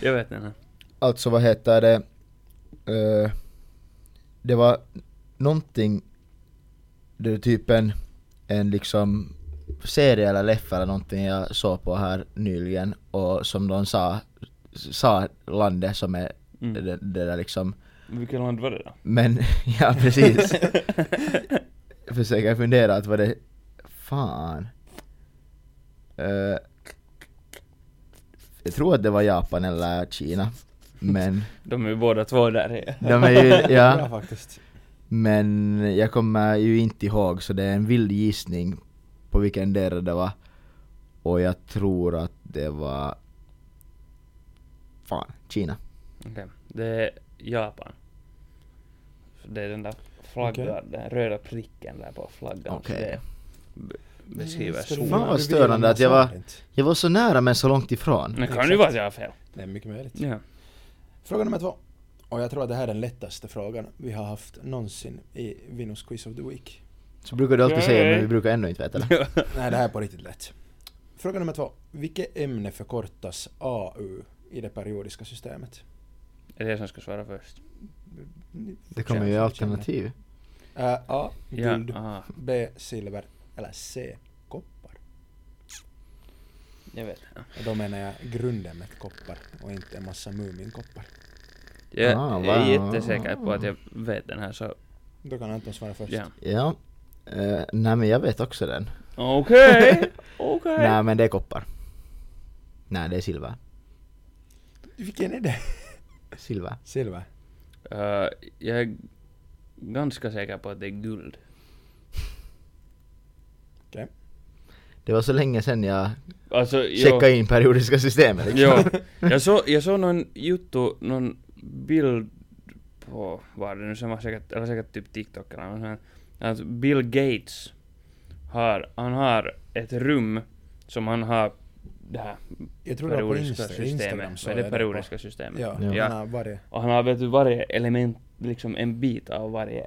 jag vet inte.
Alltså vad heter det? Eh, det var någonting, det är typ en, en liksom serie eller leff eller någonting jag såg på här nyligen och som de sa, sa landet som är
Mm.
det, det där liksom.
Vilket land var det då?
Men <laughs> ja
<laughs>
precis. jag försöker fundera att vad det, fan. Eh, jag tror att det var Japan eller Kina. Men
De är ju båda två där.
de är ju,
Bra <laughs>
ja.
faktiskt.
Men jag kommer ju inte ihåg så det är en vild gissning på vilken del det var. Och jag tror att det var... Fan, Kina.
Okej, det är Japan. Så det är den där flaggan,
Okej.
den röda pricken där på flaggan.
Okej.
Det be- beskriver
Ska du-
solen.
Fan, vad
du vill
störande
lämna
att jag var-
svaret inte.
Jag var så nära men så långt ifrån.
Det kan ju vara att jag har fel.
Det är mycket möjligt.
Ja.
Fråga nummer två. Och jag tror att det här är den lättaste frågan vi har haft någonsin i Vinus Quiz of the Week.
Så brukar du alltid säga
Okej.
men vi brukar ändå inte veta det.
Nej, det här är på riktigt lätt. Fråga nummer två. Vilket ämne förkortas AU i det periodiska systemet?
Är det jag som ska svara först?
Det kommer ju i alternativ.
Äh, A.
Ja,
Guld.
aha.
B. Silver. Eller C. Koppar.
Jag vet.
Och då menar jag grundämnet koppar och inte en massa Muminkoppar.
Jag
Ah,
jag är
wow.
jättesäker på att jag vet den här så...
Då kan Anton svara först.
Ja.
Ja. Eh, nej men jag vet också den.
Okej! Okej!
Nej men det är koppar. Nej det är silver.
Vilken är det?
Silver.
Silver.
Eh, Jag är ganska säker på att det är guld.
Okej.
Det var så länge sedan jag
Alltså, jo.
checkade in periodiska
<laughs>
systemet. Liksom.
Joo. Jag såg, jag såg någon juttu, någon bild på, var det nu, sen var säkert, eller säkert typ TikTok eller något sånt här, att Bill Gates har, han har ett rum som han har det här
Jag tror det var på
periodiska
Insta, Instagram
systemet.
så
Vad är det periodiska systemet?
Ja,
Ja.
ja. Han har varit,
Och han har vet du varje element, liksom en bit av varje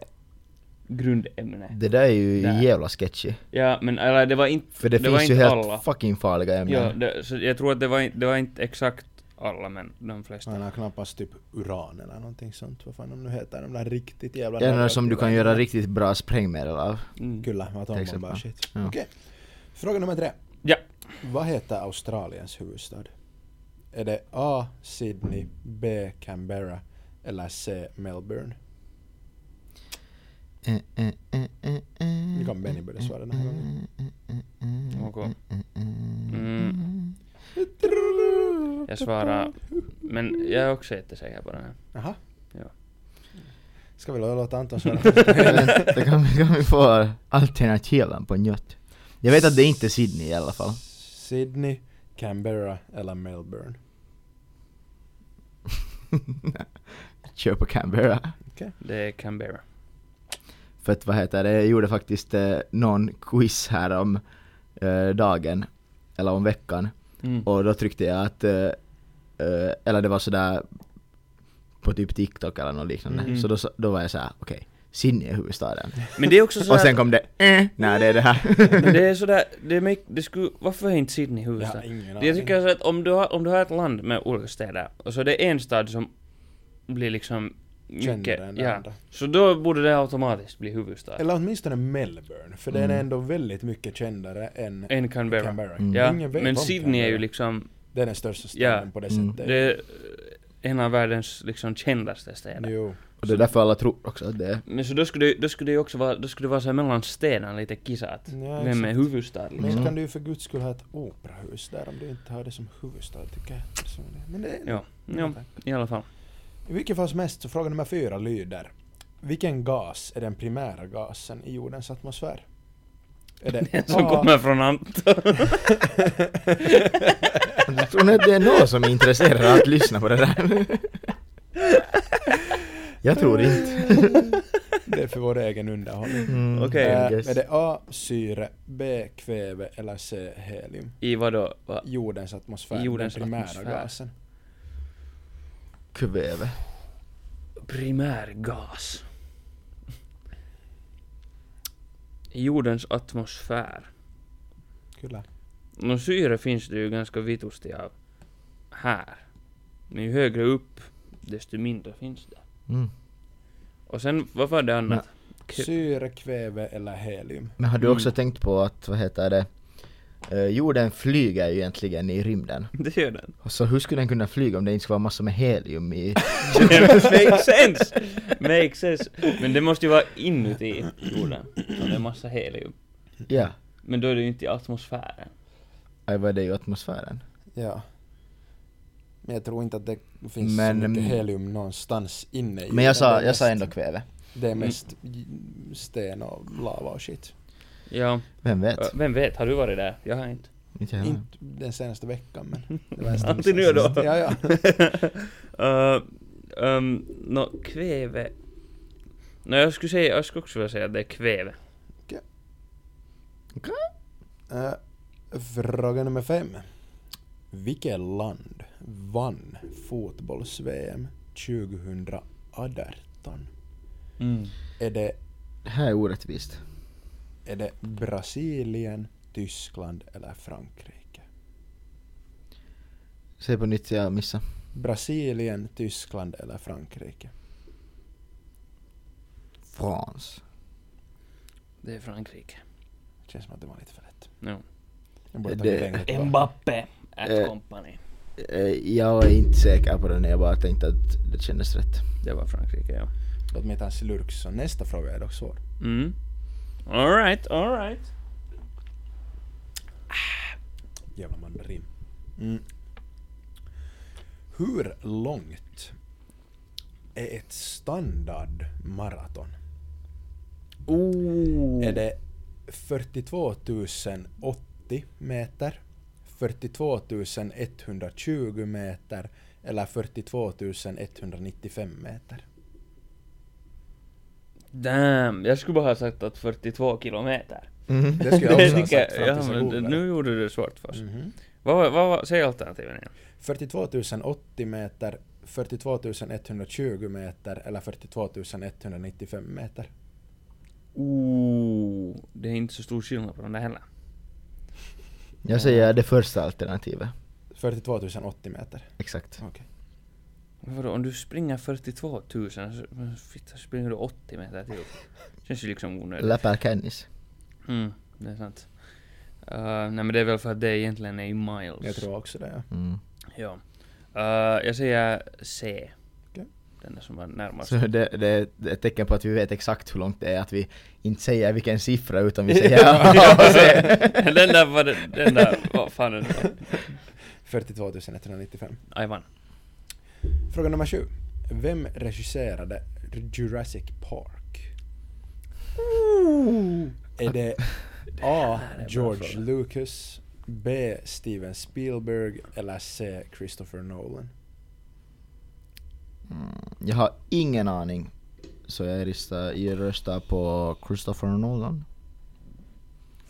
grundämne.
Det där är ju
Där.
jävla sketchy.
Ja men eller det var inte,
För det,
var
finns
inte
ju helt
alla.
fucking farliga ämnen.
Ja, det, så jag tror att det var, in- det var inte exakt alla men de flesta.
han har knappast typ uran eller någonting sånt. Vad fan de nu heter, de där riktigt jävla...
det är något som du kan
radioaktiva
göra
ämnena.
riktigt bra sprängmedel av.
Mm.
Kyllä, atombomber
exempel.
och shit.
Ja.
Okej. Fråga nummer tre.
Ja.
Vad heter Australiens huvudstad? Är det A. Sydney, B. Canberra eller C. Melbourne?
Eh, eh, eh, eh, eh,
Nu kan Benny börja svara den här gången.
Okej.
eh,
Mm.
<laughs>
Jag svarar, men jag är också jättesäker på den här.
Jaha.
Ja.
Ska vi låta Anton svara?
Vänta, kan, vi- kan vi få alternativen på njött? <laughs> Jag vet att det är inte är Sydney i alla fall. <laughs>
Sydney, Canberra eller Melbourne?
Kör på Canberra.
Det är Canberra.
För att vad heter det, jag gjorde faktiskt eh, någon quiz här om eh, dagen, eller om veckan.
Mm.
Och då tryckte jag att, eh, eh, eller det var sådär på typ TikTok eller något liknande.
Mhm.
Så då, sa- då var jag såhär, okej, Sydney är huvudstaden.
Men det är också
<laughs> Och
sådär,
sen kom det, eh, nej det är det här.
men det är sådär, det, är mycket, det skulle, varför är inte Sydney
Jag har
huvudstad?
ingen
Jag tycker så att om du, har, om du har ett land med olika städer, och så är det en stad som blir liksom mycket,
Kändare än
ja,
andra.
så då borde det automatiskt bli huvudstad.
Eller åtminstone Melbourne, för den är
Mm.
ändå väldigt mycket kändare än
En Canberra.
Canberra.
Mm.
Ja,
Ingen vet
men
om
Sydney är ju
Canberra.
liksom,
Det är den största staden
Ja.
på det
Mm.
sättet.
det är en av världens liksom kändaste städer.
Jo.
Och det är därför alla tror också att det är
Men så då skulle, det- då skulle det ju också vara, då skulle det vara så här mellan städerna lite kisat.
Ja,
Vem är
exakt.
huvudstad
Men
liksom?
Mm.
kan du ju för guds skull ha ett operahus där om du inte har det som huvudstad tycker jag. personligen. Men det är...
Ja. Ja, i alla fall.
I vilket fall som helst så fråga nummer fyra lyder. Vilken gas är den primära gasen i jordens atmosfär? Är det
Den <laughs> som kommer från Anton.
Jag tror ni att det är någon som är intresserad av att lyssna på det där? Jag tror inte.
<laughs> Det är för vår egen underhållning.
Mm,
Okej.
Eh,
I guess.
är det A. Syre, B. Kväve eller C. Helium?
I vadå? Va?
Jordens atmosfär,
Jordens
den primära
atmosfär.
gasen.
Kväve.
Primärgas. I jordens atmosfär.
Kyllä.
Nå syre finns det ju ganska vitusti av här. Men ju högre upp, desto mindre finns det.
Mm.
Och sen, vad var det annat? Kv-
Syre, kväve eller helium?
Men har du också
Mm.
tänkt på att, vad heter det, eh, jorden flyger ju egentligen i rymden.
<laughs> Det gör den.
Så hur skulle den kunna flyga om det inte skulle vara massor med helium i...
<laughs> Makes sense! Makes sense. Men det måste ju vara inuti jorden. Och det är massa helium.
Ja,
Men då är det ju inte i atmosfären.
aj vad är det ju atmosfären?
Ja. Men jag tror inte att det finns
Men,
så mycket
mm,
helium någonstans inne i
Men jag
jorden. Det
sa,
är
jag sa
mest-
ändå kväve.
Det är mest j- sten och lava och shit.
Ja,
Vem vet?
ö, vem vet, har du varit där? Jag har <laughs> inte.
Inte jag.
Inte den senaste veckan men... det var en stund
Alltid nu
sedan
då.
sist. Ja, ja.
Ö, ehm, Uh, Nå, kväve. Nå, jag skulle säga, jag skulle också vilja säga att det är kväve.
Eh, Fråga nummer fem. Vilket land vann fotbolls-VM 2018?
Mm.
Är det,
Det här är orättvist.
är det Brasilien, Tyskland eller Frankrike?
Säg på nytt, jag missade.
Brasilien, Tyskland eller Frankrike?
France.
Det är Frankrike.
Känns som att det var lite för lätt.
No.
Jag borde
Det-
tagit längre tillbaka.
Mbappe at
Eh.
company.
Eh, Jag är inte säker på den, jag bara tänkte att det kändes rätt.
Det var Frankrike, ja.
Låt mig ta en slurk så nästa fråga är dock svår.
Mm. Alright, alright.
Jävla mandarin. Mm. Hur långt är ett standardmaraton?
Ooh. Oh.
Är det 42 080 meter, 42 120 meter eller 42 195 meter?
Damn, jag skulle bara ha sagt att 42 kilometer.
Mm.
Det skulle jag också ha
tycker
sagt fram
jag-
tills
ja,
jag
men
googlade.
Nu gjorde du det svårt för oss.
Mhm.
Vad, var- vad, var- säg alternativen igen.
42 080 meter, 42 120 meter eller 42 195 meter?
Ooh, Oh, det är inte så stor skillnad på de där heller.
Jag säger det första alternativet.
42 080 meter.
Exakt.
Men Vadå, om du springer 42 000, så- men fitta, springer du 80 meter till? Känns ju liksom onödigt.
Läppar Kennis.
Mm, det är sant. Uh, nej men det är väl för att det egentligen är i miles.
Jag tror också det. Ja.
Mm.
Ja. Eh, jag säger C.
Okej.
Den är som var närmast.
Så det, det är ett tecken på att vi vet exakt hur långt det är, att vi inte säger vilken siffra utan vi säger <laughs> ja, se.
den där var den, den där, vad fan är det?
42 195.
Aivan.
Fråga nummer sju. Vem regisserade Jurassic Park? Är det A. George Lucas, B. Steven Spielberg eller C. Christopher Nolan?
Mm. Jag har ingen aning. Så jag röstar, jag röstar på Christopher Nolan.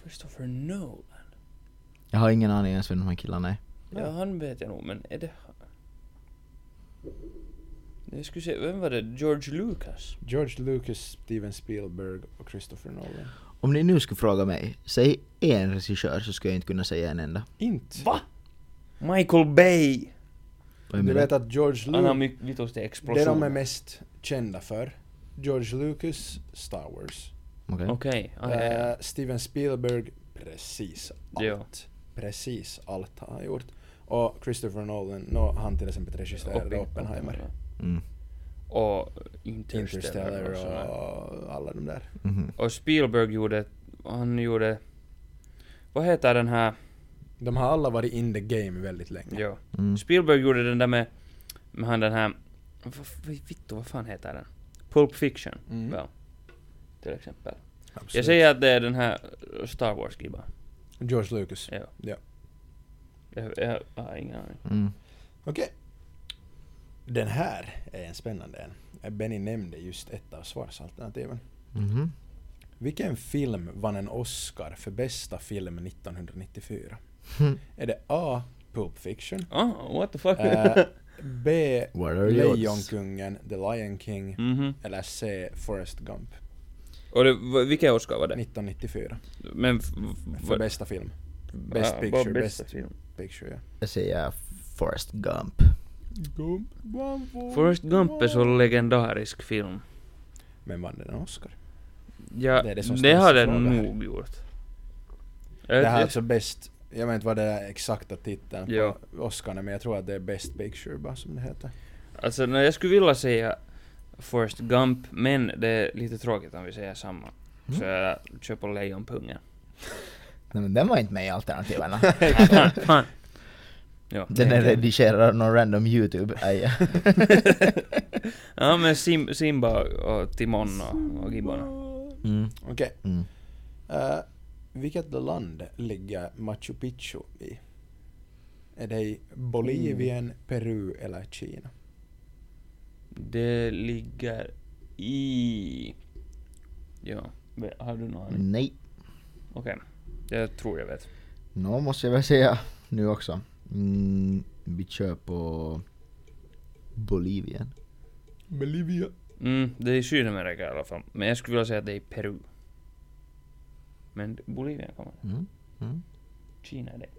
Christopher Nolan?
Jag har ingen aning ens vem de här killarna är.
Ja, han vet jag nog, men är det han? Jag skulle säga, vem var det? George Lucas?
George Lucas, Steven Spielberg och Christopher Nolan.
Om ni nu skulle fråga mig, säg en regissör så skulle jag inte kunna säga en enda.
Inte.
Va? Michael Bay!
Vad
Du
är med
vet
det?
att George
Han har
Lucas,
mycket vitos till
det de är
explosioner.
mest kända för, George Lucas, Star Wars.
Okej.
Okej, ah, ja, ja.
Eh, Steven Spielberg, precis allt.
Ja.
Precis allt har han gjort. Och Christopher Nolan, nå han till exempel regisserade
Oppen-
Oppenheimer.
Mm.
Och Interstellar,
Interstellar
och sådär.
och alla de där.
Mhm.
Och Spielberg gjorde, han gjorde, vad heter den här,
De har alla varit in the game väldigt länge.
jo.
Mm.
Spielberg gjorde den där med, med han den här, vad, vad, vittu, vad fan heter den? Pulp Fiction,
Mm.
väl? Till exempel.
Absolut.
Jag säger att det är den här eh, Star Wars-gibban.
George Lucas.
Ja.
Ja.
Jag, jag, jag har ingen aning.
Mm.
Okej. Den här är en spännande en. Benny nämnde just ett av svarsalternativen.
Mhm.
Vilken film vann en Oscar för bästa film 1994?
Hmm.
Är det A. Pulp
<laughs>
Fiction?
Oh, what the fuck?
Eh, B.
What are the odds? Hmm.
Lejonkungen, The Lion King
<laughs> Mhm.
eller C. Forrest Gump
Och det, v- vilken Oscar var det?
1994
Men... f-
för
vad-
bästa film. best
ah,
picture,
bara bästa
best-
film.
Picture ja.
Jag säger Forrest Gump.
Gump,
Forrest Gump är så legendarisk film.
Men vann den en Oscar?
Ja,
Det
det,
är det som ställs
har
frågan
den
här.
nog gjort.
Det
Eh,
Jag-
här är
jag-
alltså bäst, jag vet inte vad det är exakta titeln
Ja.
på Oscarna men jag tror att det är Best Picture bara som det heter.
Alltså, no, jag skulle vilja säga Forrest Gump, men det är lite tråkigt om vi säger samma.
Mm.
Så jag kör
<laughs>
på Lejonpungen.
Nej, men den var inte med i alternativen.
<laughs> Fan, fan. Ja,
Den
det-
är redigerad av någon random youtube aj.
<laughs> Ja men Sim, Simba och Timon och, och Gibbon.
Mm.
Okej.
Mm.
Eh, vilket land ligger Machu Picchu i? Är det i Bolivien, Peru eller Kina?
Det ligger i... Ja, men har du någon aning?
Nej.
Okej, jag tror jag vet.
Nå måste jag väl säga nu också. Mm, vi kör på Bolivien.
Bolivia.
Mm, det är i Sydamerika i alla fall. Men jag skulle vilja säga att det är i Peru. Men Bolivia kan man.
Mm. Mm.
Kina är det. <laughs>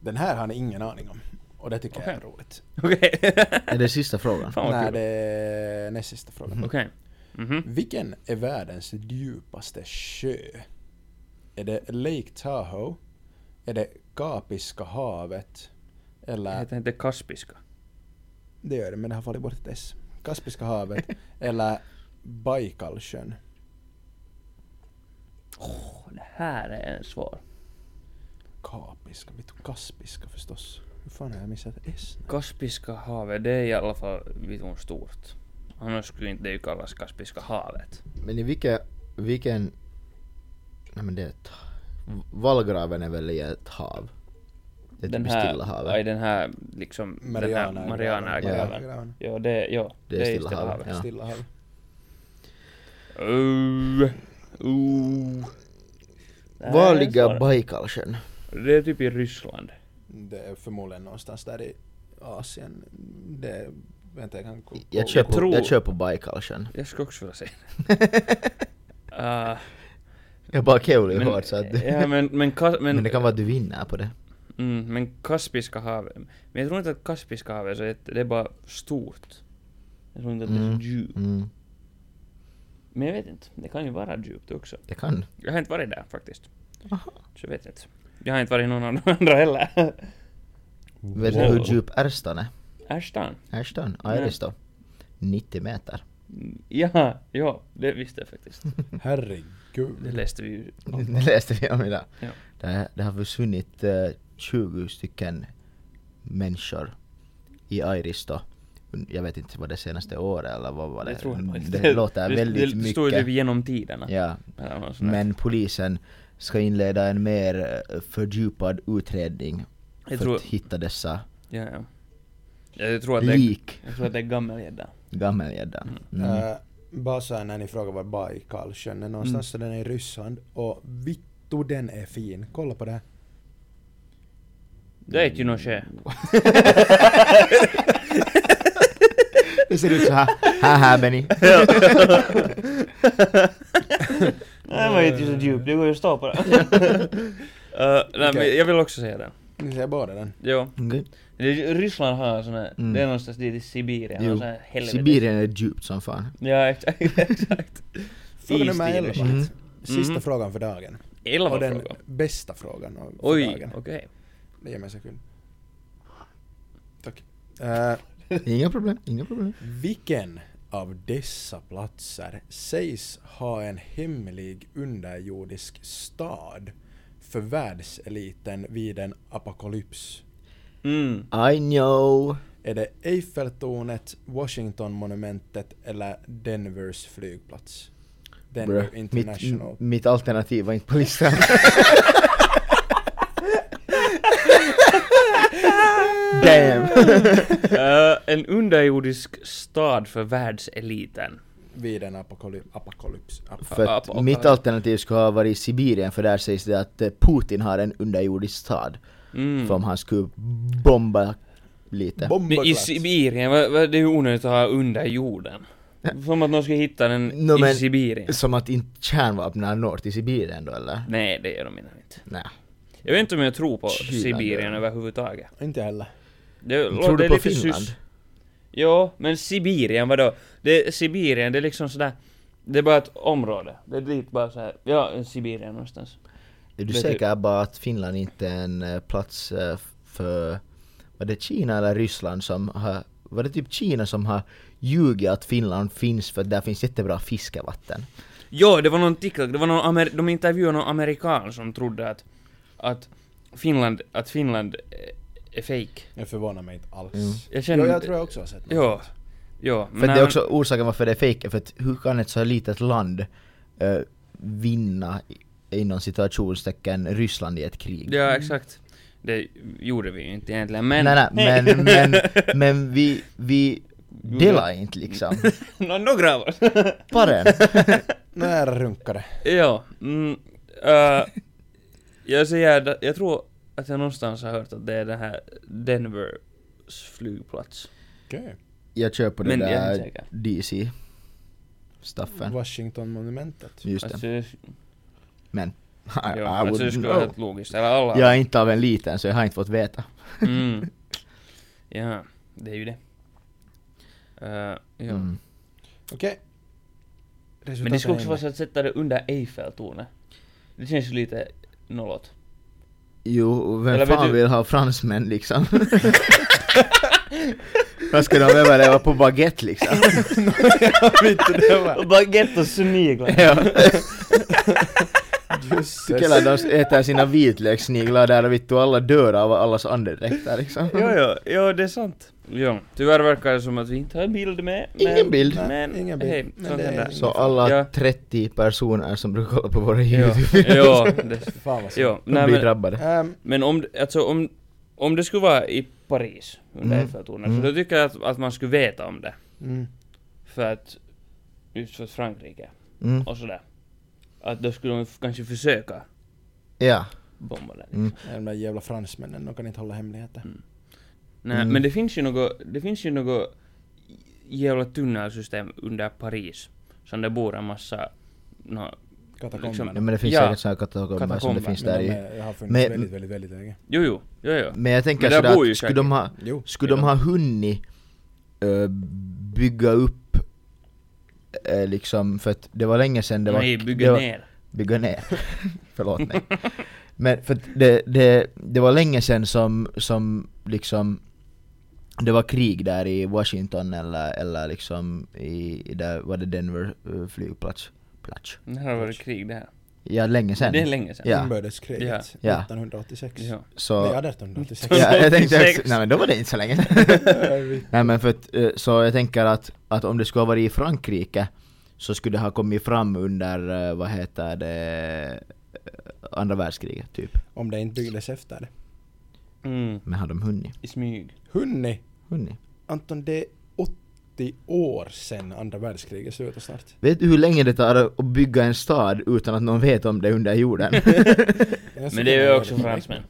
Den här har ni ingen aning om. Och det tycker
Okej.
jag är roligt.
Okej.
Är det sista frågan?
Fan vad
Nej,
kul. Mm.
det är näst sista frågan.
Okej. Mhm.
Vilken är världens djupaste sjö? Är det Lake Tahoe? Är det Kapiska havet?
Det
Eller,
heter inte kaspiska.
det gör det men det har fallit bort ett S. Kaspiska
<laughs>
havet eller Baikalsjön?
Åh, det här är en svår.
Kapiska, vet du, Kaspiska förstås. Hur fan har jag missat ett S?
Kaspiska havet, det är i alla fall vitun stort. Annars skulle inte det ju kallas Kaspiska havet.
Men i vilken, vilken... Nej men det är ett... Vallgraven är väl i ett hav? Det är
Den
typ i
här,
Stilla havet.
aj, den här liksom, den här Marianergraven.
Ja.
Ja, det, ja,
Det är
i
Stilla havet, ja.
Stilla havet.
Uh, uh. Det här
Var
är
ligger
svårt.
Baikalsjön?
Det är typ i Ryssland.
Det är förmodligen någonstans där i Asien. Det är, vänta jag kan kolla.
Jag kör på,
tror-
jag kör på Baikalsjön.
Jag skulle också vilja säga
<laughs>
det.
Jag bara kul ju
men,
hårt så att...
<laughs>
<laughs>
ja, men, men, kas, men,
Men det kan vara att du vinner på det.
mm, men Kaspiska havet. Men jag tror inte att Kaspiska havet så det, det är bara stort. Jag tror inte att det är
Mm.
så djupt.
Mm,
Men jag vet inte, det kan ju vara djupt också.
det kan.
Jag har inte varit där faktiskt. Så jag vet inte. Jag har inte varit i någon av de <laughs> andra heller.
Vet du hur
Wow.
djup Ärstan är?
Ashton?
Ärstan?
Nej.
Airisto? 90 meter. <laughs>
Ja, ja, det visste jag faktiskt. Det
Herregud.
läste vi ju.
Det läste vi om idag.
Ja.
Det, det har försvunnit eh, 20 stycken människor i Airisto. Jag vet inte vad det senaste året eller vad var det?
Det tror jag faktiskt.
det, låter väldigt
<laughs> det, det står ju
mycket.
typ genom tiderna.
ja.
Eller något sånt där.
Men polisen ska inleda en mer eh, fördjupad utredning
Jag
för
tror-
att hitta dessa
Ja, ja. Jag tror att det är,
lik
jag tror att det är gammelgädda.
gammelgäddan. Mm. Mm.
Eh, bara så här när ni frågar var Baikalsjön är någonstans, så den är i Ryssland. Och vittu den är fin. Kolla på det här.
Det är ju något <laughs> ske.
<laughs> Det ser ut så här. Haha Benny.
Nej, man är inte så djup, det går ju att <laughs> stå på det. Eh, nej, men
Okej.
jag vill också säga det.
Ni ser båda den.
Jo.
Okej.
Det- Ryssland har en sån här,
Mm.
det är någonstans dit i Sibirien,
Jo.
jo. sån här helvete.
Sibirien är djupt som fan.
Ja, exakt. <laughs> exakt.
Fråga nummer
Istider.
11.
Mm.
Sista
Mhm.
frågan för dagen.
Elva
och den
frågor.
bästa frågan av- för
Oj, okej.
dagen. Det ger mig en sekund. Tack. Eh,
Inga problem, inga problem.
vilken av dessa platser sägs ha en hemlig underjordisk stad för världseliten vid en apokalyps?
Mm.
I know.
Är det Eiffeltornet, Washingtonmonumentet eller Denvers flygplats? Denver
Bruh.
International.
Mitt, mitt alternativ var inte
<laughs>
på listan. Damn!
Eh, en underjordisk stad för världseliten.
Vid en apokaly- apokalyps. ap-
För
Ja,
att
på-
mitt alternativ skulle ha varit Sibirien för där sägs det att eh, Putin har en underjordisk stad.
Mm.
För om han skulle bomba lite.
Men i
Bomberglass.
Sibirien, vad- vad- det är ju onödigt att ha under jorden. Som att någon ska hitta den
Nå,
i
men-
Sibirien.
Som att inte kärnvapnen når till Sibirien då eller?
Nej, det gör de inte.
Nej.
Jag vet inte om jag tror på
Kylan,
Sibirien
ja.
överhuvudtaget.
Inte heller.
Det det
Tror du
är
på
lite
Finland?
sys- Ja, men Sibirien vadå? Det, Sibirien, det är liksom sådär... Det är bara ett område. Det är dit bara såhär, ja, Sibirien någonstans.
Är du
Vet
säker bara att Finland inte är en eh, plats eh, för... Var det Kina eller Ryssland som har... Var det typ Kina som har ljugit att Finland finns för där finns jättebra fiskevatten?
Jo, det var någon TikTok, det var någon Amer- de intervjuade någon amerikan som trodde att, att Finland, att Finland eh, är fake.
Det förvånar mig inte alls.
Jag känner-
jo, jag tror jag också har sett något.
Jo, jo. men
För det
han-
är också orsaken varför det är fejk, är för att hur kan ett så här litet land eh, vinna i- inom situationstecken Ryssland i ett krig?
Ja, exakt. Det gjorde vi ju inte egentligen, men...
nej,
<laughs>
nej, men, men, men vi, vi delar inte liksom.
Nå, några av oss.
Paren.
<laughs>
Nu är jag runkare.
ja. Mm, äh, jag säger, att- jag tror att jag någonstans har hört att det är den här Denvers flygplats.
Okej.
Jag kör på det
Men jag är inte
där
säker.
DC-staffen.
Washingtonmonumentet.
Just det.
Alltså, jag-
Men <laughs> I,
ja,
I
alltså det
wouldn't
skulle vara
know.
helt logiskt. Eller alla...
Jag är inte av en liten så jag har inte fått veta.
Mm. Ja, det är ju det. Eh, ja.
Mm.
Okej.
Men det skulle också vara
Resultatet
så att sätta det under Eiffeltornet. Det känns ju lite nollåt.
Jo, vem
Eller vet
fan
du-
vill ha fransmän
<laughs>
liksom? Vad ska de överleva på
<laughs>
baguette liksom?
Och baguette och sniglar.
ja.
är Jösses.
Killar de äter sina vitlökssniglar där och vittu alla dör av allas andedräkter liksom.
Jo, jo, jo, det är sant. Ja. Tyvärr verkar det som att vi inte har en bild med. Men,
Ingen bild.
Men,
Nej, ingen bild.
hej,
Men
sånt
det är-
händer.
Så alla
Ja.
30 personer som brukar kolla på våra
Ja, <laughs>
YouTube-videos
ja, det,
Fan vad synd.
ja.
de
Nej,
blir
men,
drabbade.
Ehm,
men om, alltså, om, om det skulle vara i Paris under
Mm.
Eiffeltornet,
Mm.
så då tycker jag att, att man skulle veta om det.
mm.
För att, just för Frankrike
Mm.
och sådär. Att då skulle de f- kanske försöka
Ja.
bomba den.
Mm.
De där jävla fransmännen, de kan inte hålla hemligheter.
Nej,
Mm.
men det finns ju något, det finns ju något jävla tunnelsystem under Paris. Som det bor en massa, nå, Liksom-
Katakomberna.
ja men det finns
Ja.
säkert sådana katakomber som det
Katakomber,
finns
Men
där
de
i.
är- har funnits
Men-
väldigt, väldigt, väldigt länge.
jo jo, jo jo.
Men jag tänker
Men där bor
sådär
ju
att skulle de ha,
Jo.
skulle de ha hunnit eh, bygga upp eh, liksom, för att det var länge sedan det var...
Nej,
det
bygga
var,
ner.
bygga ner. <laughs> Förlåt
<laughs>
mig. Men för att det, det, det var länge sedan som, som liksom det var krig där i Washington eller, eller liksom i, i där, var det Denver eh, flygplats? Plats.
Det här har varit krig det här.
Ja, länge sedan.
Det är länge sedan.
Ja.
Inbördeskriget.
Ja.
1986.
Ja.
Så,
Nej,
ja,
1886.
jag tänkte också,
86.
nej men då var det inte
<laughs>
så länge sedan. Nej men för att, eh, så jag tänker att, att om det skulle ha varit i Frankrike så skulle det ha kommit fram under, eh, vad heter det, eh, andra världskriget typ.
<laughs> Om det inte byggdes efter det.
Mm.
Men har de hunnit?
I smyg.
Hunni!
Hunnit?
Anton, det är 80 år sedan andra världskriget slutade
<laughs>
snart.
Vet du hur länge det tar att bygga en stad utan att någon vet om det är
<laughs>
under jorden?
Jag
Men det är ju också
korrekt.
fransmän.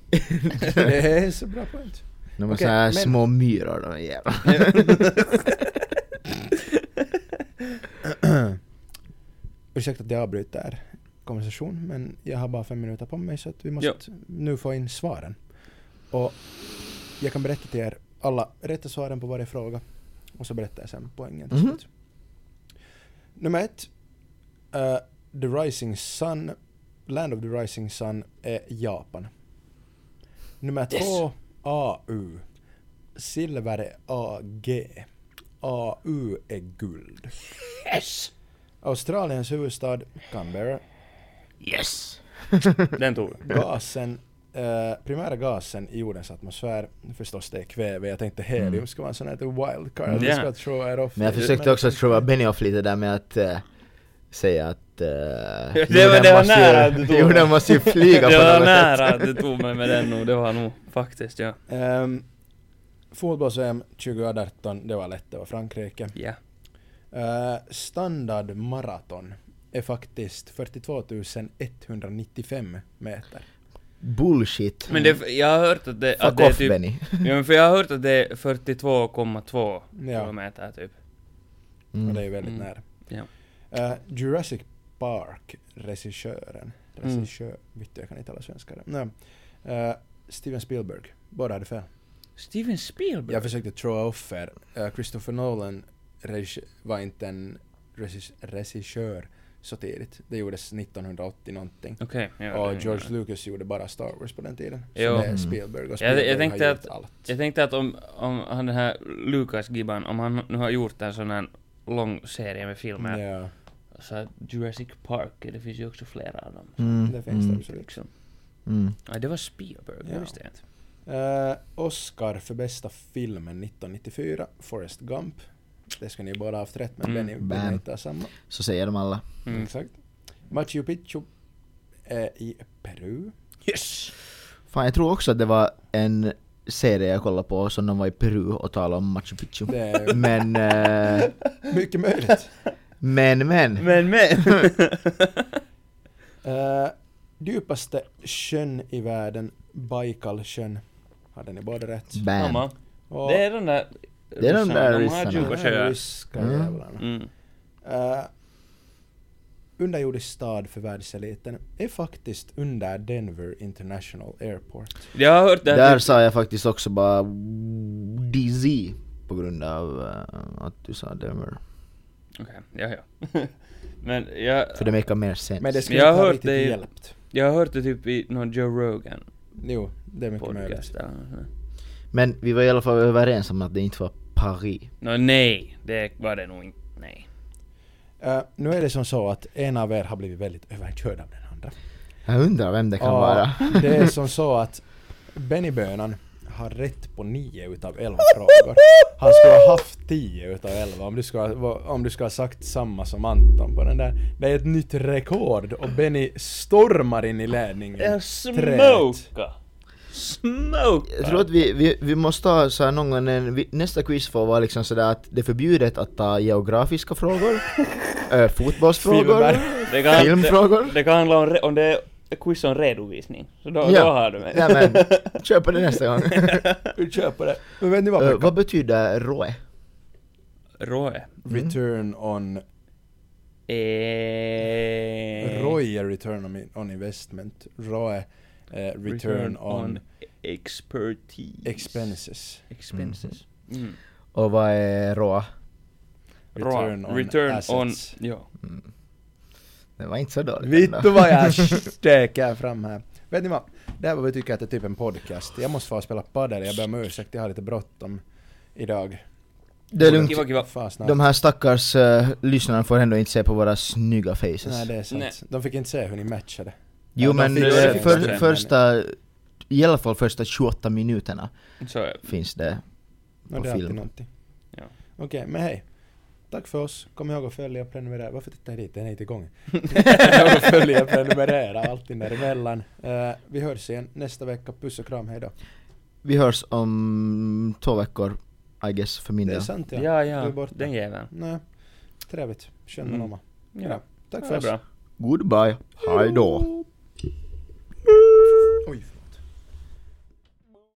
Det är så bra poäng.
De har
Okej,
så här
men-
små myror de jävla.
<clears throat> Ursäkta att jag avbryter konversation men jag har bara fem minuter på mig så att vi måste nu få in svaren. Och jag kan berätta till er alla rätta svaren på varje fråga och så berättar jag sen poängen till
Mhm.
slut. Nummer ett. eh, the Rising Sun, Land of the Rising Sun är Japan. Nummer två, AU. Silver är AG. AU är guld.
Yes!
Australiens huvudstad Canberra.
Yes!
Den tog vi.
Gasen, eh, primära gasen i jordens atmosfär, förstås det är kväve, jag tänkte helium
Mm.
ska vara en sån här lite wildcard,
Mm.
det
Ja.
ska throw er off.
Men jag försökte
Men-
också throwa Benioff lite där med att eh, säga
<laughs>
att eh,
det var
jorden måste
nära att
<laughs> ju,
du tog
jorden
den.
måste ju
Det
flyga på
var
något
nära att
sätt.
du tog mig med den nog, det var nog faktiskt ja.
Ehm, Fotbolls-VM 2018, det var lätt, det var Frankrike.
Ja.
Eh, standardmaraton är faktiskt 42 195 meter.
Bullshit.
Men det, jag har hört att det, att
Fuck
det är
off
typ,
Benny.
ja, men för jag har hört att det är 42,2
Ja.
kilometer typ.
Och
Mm.
det är ju väldigt
Mm.
nära.
Ja.
Eh, Jurassic Park,
Mm.
regissören. Regissör, vittu jag kan inte alla svenskar. Nej. Eh, Steven Spielberg, båda hade fel.
Steven Spielberg?
Jag försökte throw off er. Eh, Christopher Nolan regi- var inte en regis- regissör så tidigt. Det gjordes 1980 någonting.
Okej, ja,
Och
det-
George Lucas gjorde bara Star Wars på den tiden. Så
Jo. Mm.
det är Spielberg och
Jag- jag
Spielberg
tänkte
har
att-
gjort allt.
Jag tänkte att om, om han den här Lucas Gibban, om han nu har gjort en sån här lång serie med filmer,
Ja,
så att Jurassic Park, det finns ju också flera av dem.
Mm.
det finns det
mm.
absolut.
Liksom.
Mm.
Ja, det var Spielberg, det
Ja.
visste jag inte.
Eh, Oscar för bästa filmen 1994, Forrest Gump. Det skulle ni båda haft rätt men
Mm.
Benny
Bam.
vill inte ha samma.
Så säger de alla.
Mm.
Exakt. Machu Picchu eh, i Peru.
Yes!
Fan jag tror också att det var en serie jag kollade på som de var i Peru och talade om Machu Picchu.
Det är
<laughs> Men, eh,
mycket
<laughs>
möjligt.
men, men.
Men men!
Eh, dypaste sjön i världen, Baikalsjön. Hade ni båda rätt?
Bam.
Mamma,
Och
det är den där
Det är de där
De
ryssarna.
har
de här
Djupasjöar.
ryska
Mm.
jävlarna.
Mm.
Eh, underjordisk stad för världseliten är faktiskt under Denver International Airport.
Jag har hört det
Där
här. typ-
sa jag faktiskt också bara DZ på grund av eh, att du sa Denver.
Okej, ja, <laughs> ja. Men jag,
För det makar mer sens.
Men det skulle
jag har
inte ha
hört
riktigt
det i-
hjälpt.
jag har hört det typ i någon Joe Rogan
Jo, det är mycket möjligt.
podcast eller något sånt där.
Men vi var i alla fall överens om att det inte var Paris.
Nå nej, det var det nog inte. Nej.
Eh, nu är det som så att en av er har blivit väldigt överkörd av den andra.
Jag undrar vem det kan
Ja,
vara. <laughs>
det är som så att Benny Bönan har rätt på nio utav elva frågor. Han skulle ha haft tio utav elva om du skulle, ha- va- om du skulle ha sagt samma som Anton på den där. Det är ett nytt rekord och Benny stormar in i ledningen.
Jag
smoka.
smoka! Smoka!
Jag tror att vi, vi, vi måste ha så här någon gång, en, vi, nästa quiz får vara liksom sådär att det är förbjudet att ta
<laughs>
geografiska frågor, eh, fotbollsfrågor,
Filmberg.
det kan,
filmfrågor.
Det, det kan handla om, re, om det är ett quiz om redovisning. Så då, då har du mig. <laughs>
Ja, men, kör på det nästa gång.
Vi köper det. Men vet ni vad
Eh,
Pekka?
vad betyder råe?
Roe.
mm.
Return on...
Eh,
ROI är return on, on investment. ROE är eh, return, on
expertise.
expenses.
Expenses. Mm.
Och vad är råa?
Return
Roa.
on
return
assets.
on ja.
Mm. Det var inte så dåligt
Vet du
ändå.
vad jag stökar fram här? Vet ni vad? Det här var vi tycker att det är typ en podcast. Jag måste få spela padel, jag ber om ursäkt, jag har lite bråttom idag.
Det är lugnt.
Kiva, kiva.
Fan snart.
De här stackars eh, lyssnarna får ändå inte se på våra snygga faces.
Nej det är sant.
Nej.
De fick inte se hur ni matchade.
jo
de
men
fick-
eh,
de fick
för,
se.
första, i alla fall första 28 minuterna
Så är
<laughs>
finns det.
No,
På
det är alltid
film.
någonting.
Ja.
Okej, men hej. Tack för oss. Kom ihåg att följa och prenumerera. Varför tittar jag dit? Den är inte <laughs> igång. Kom ihåg att följa och prenumerera. Allting däremellan. Uh, vi hörs igen nästa vecka. Puss och kram, hejdå.
Vi hörs om två veckor, I guess, för min
Det är
del.
sant ja.
Ja,
Du
ja.
är borta.
Den jäveln.
Nej. Trevligt. Skön
Mm.
mamma.
Ja.
Tack för
Ja, det är
oss.
bra.
Goodbye, hej då.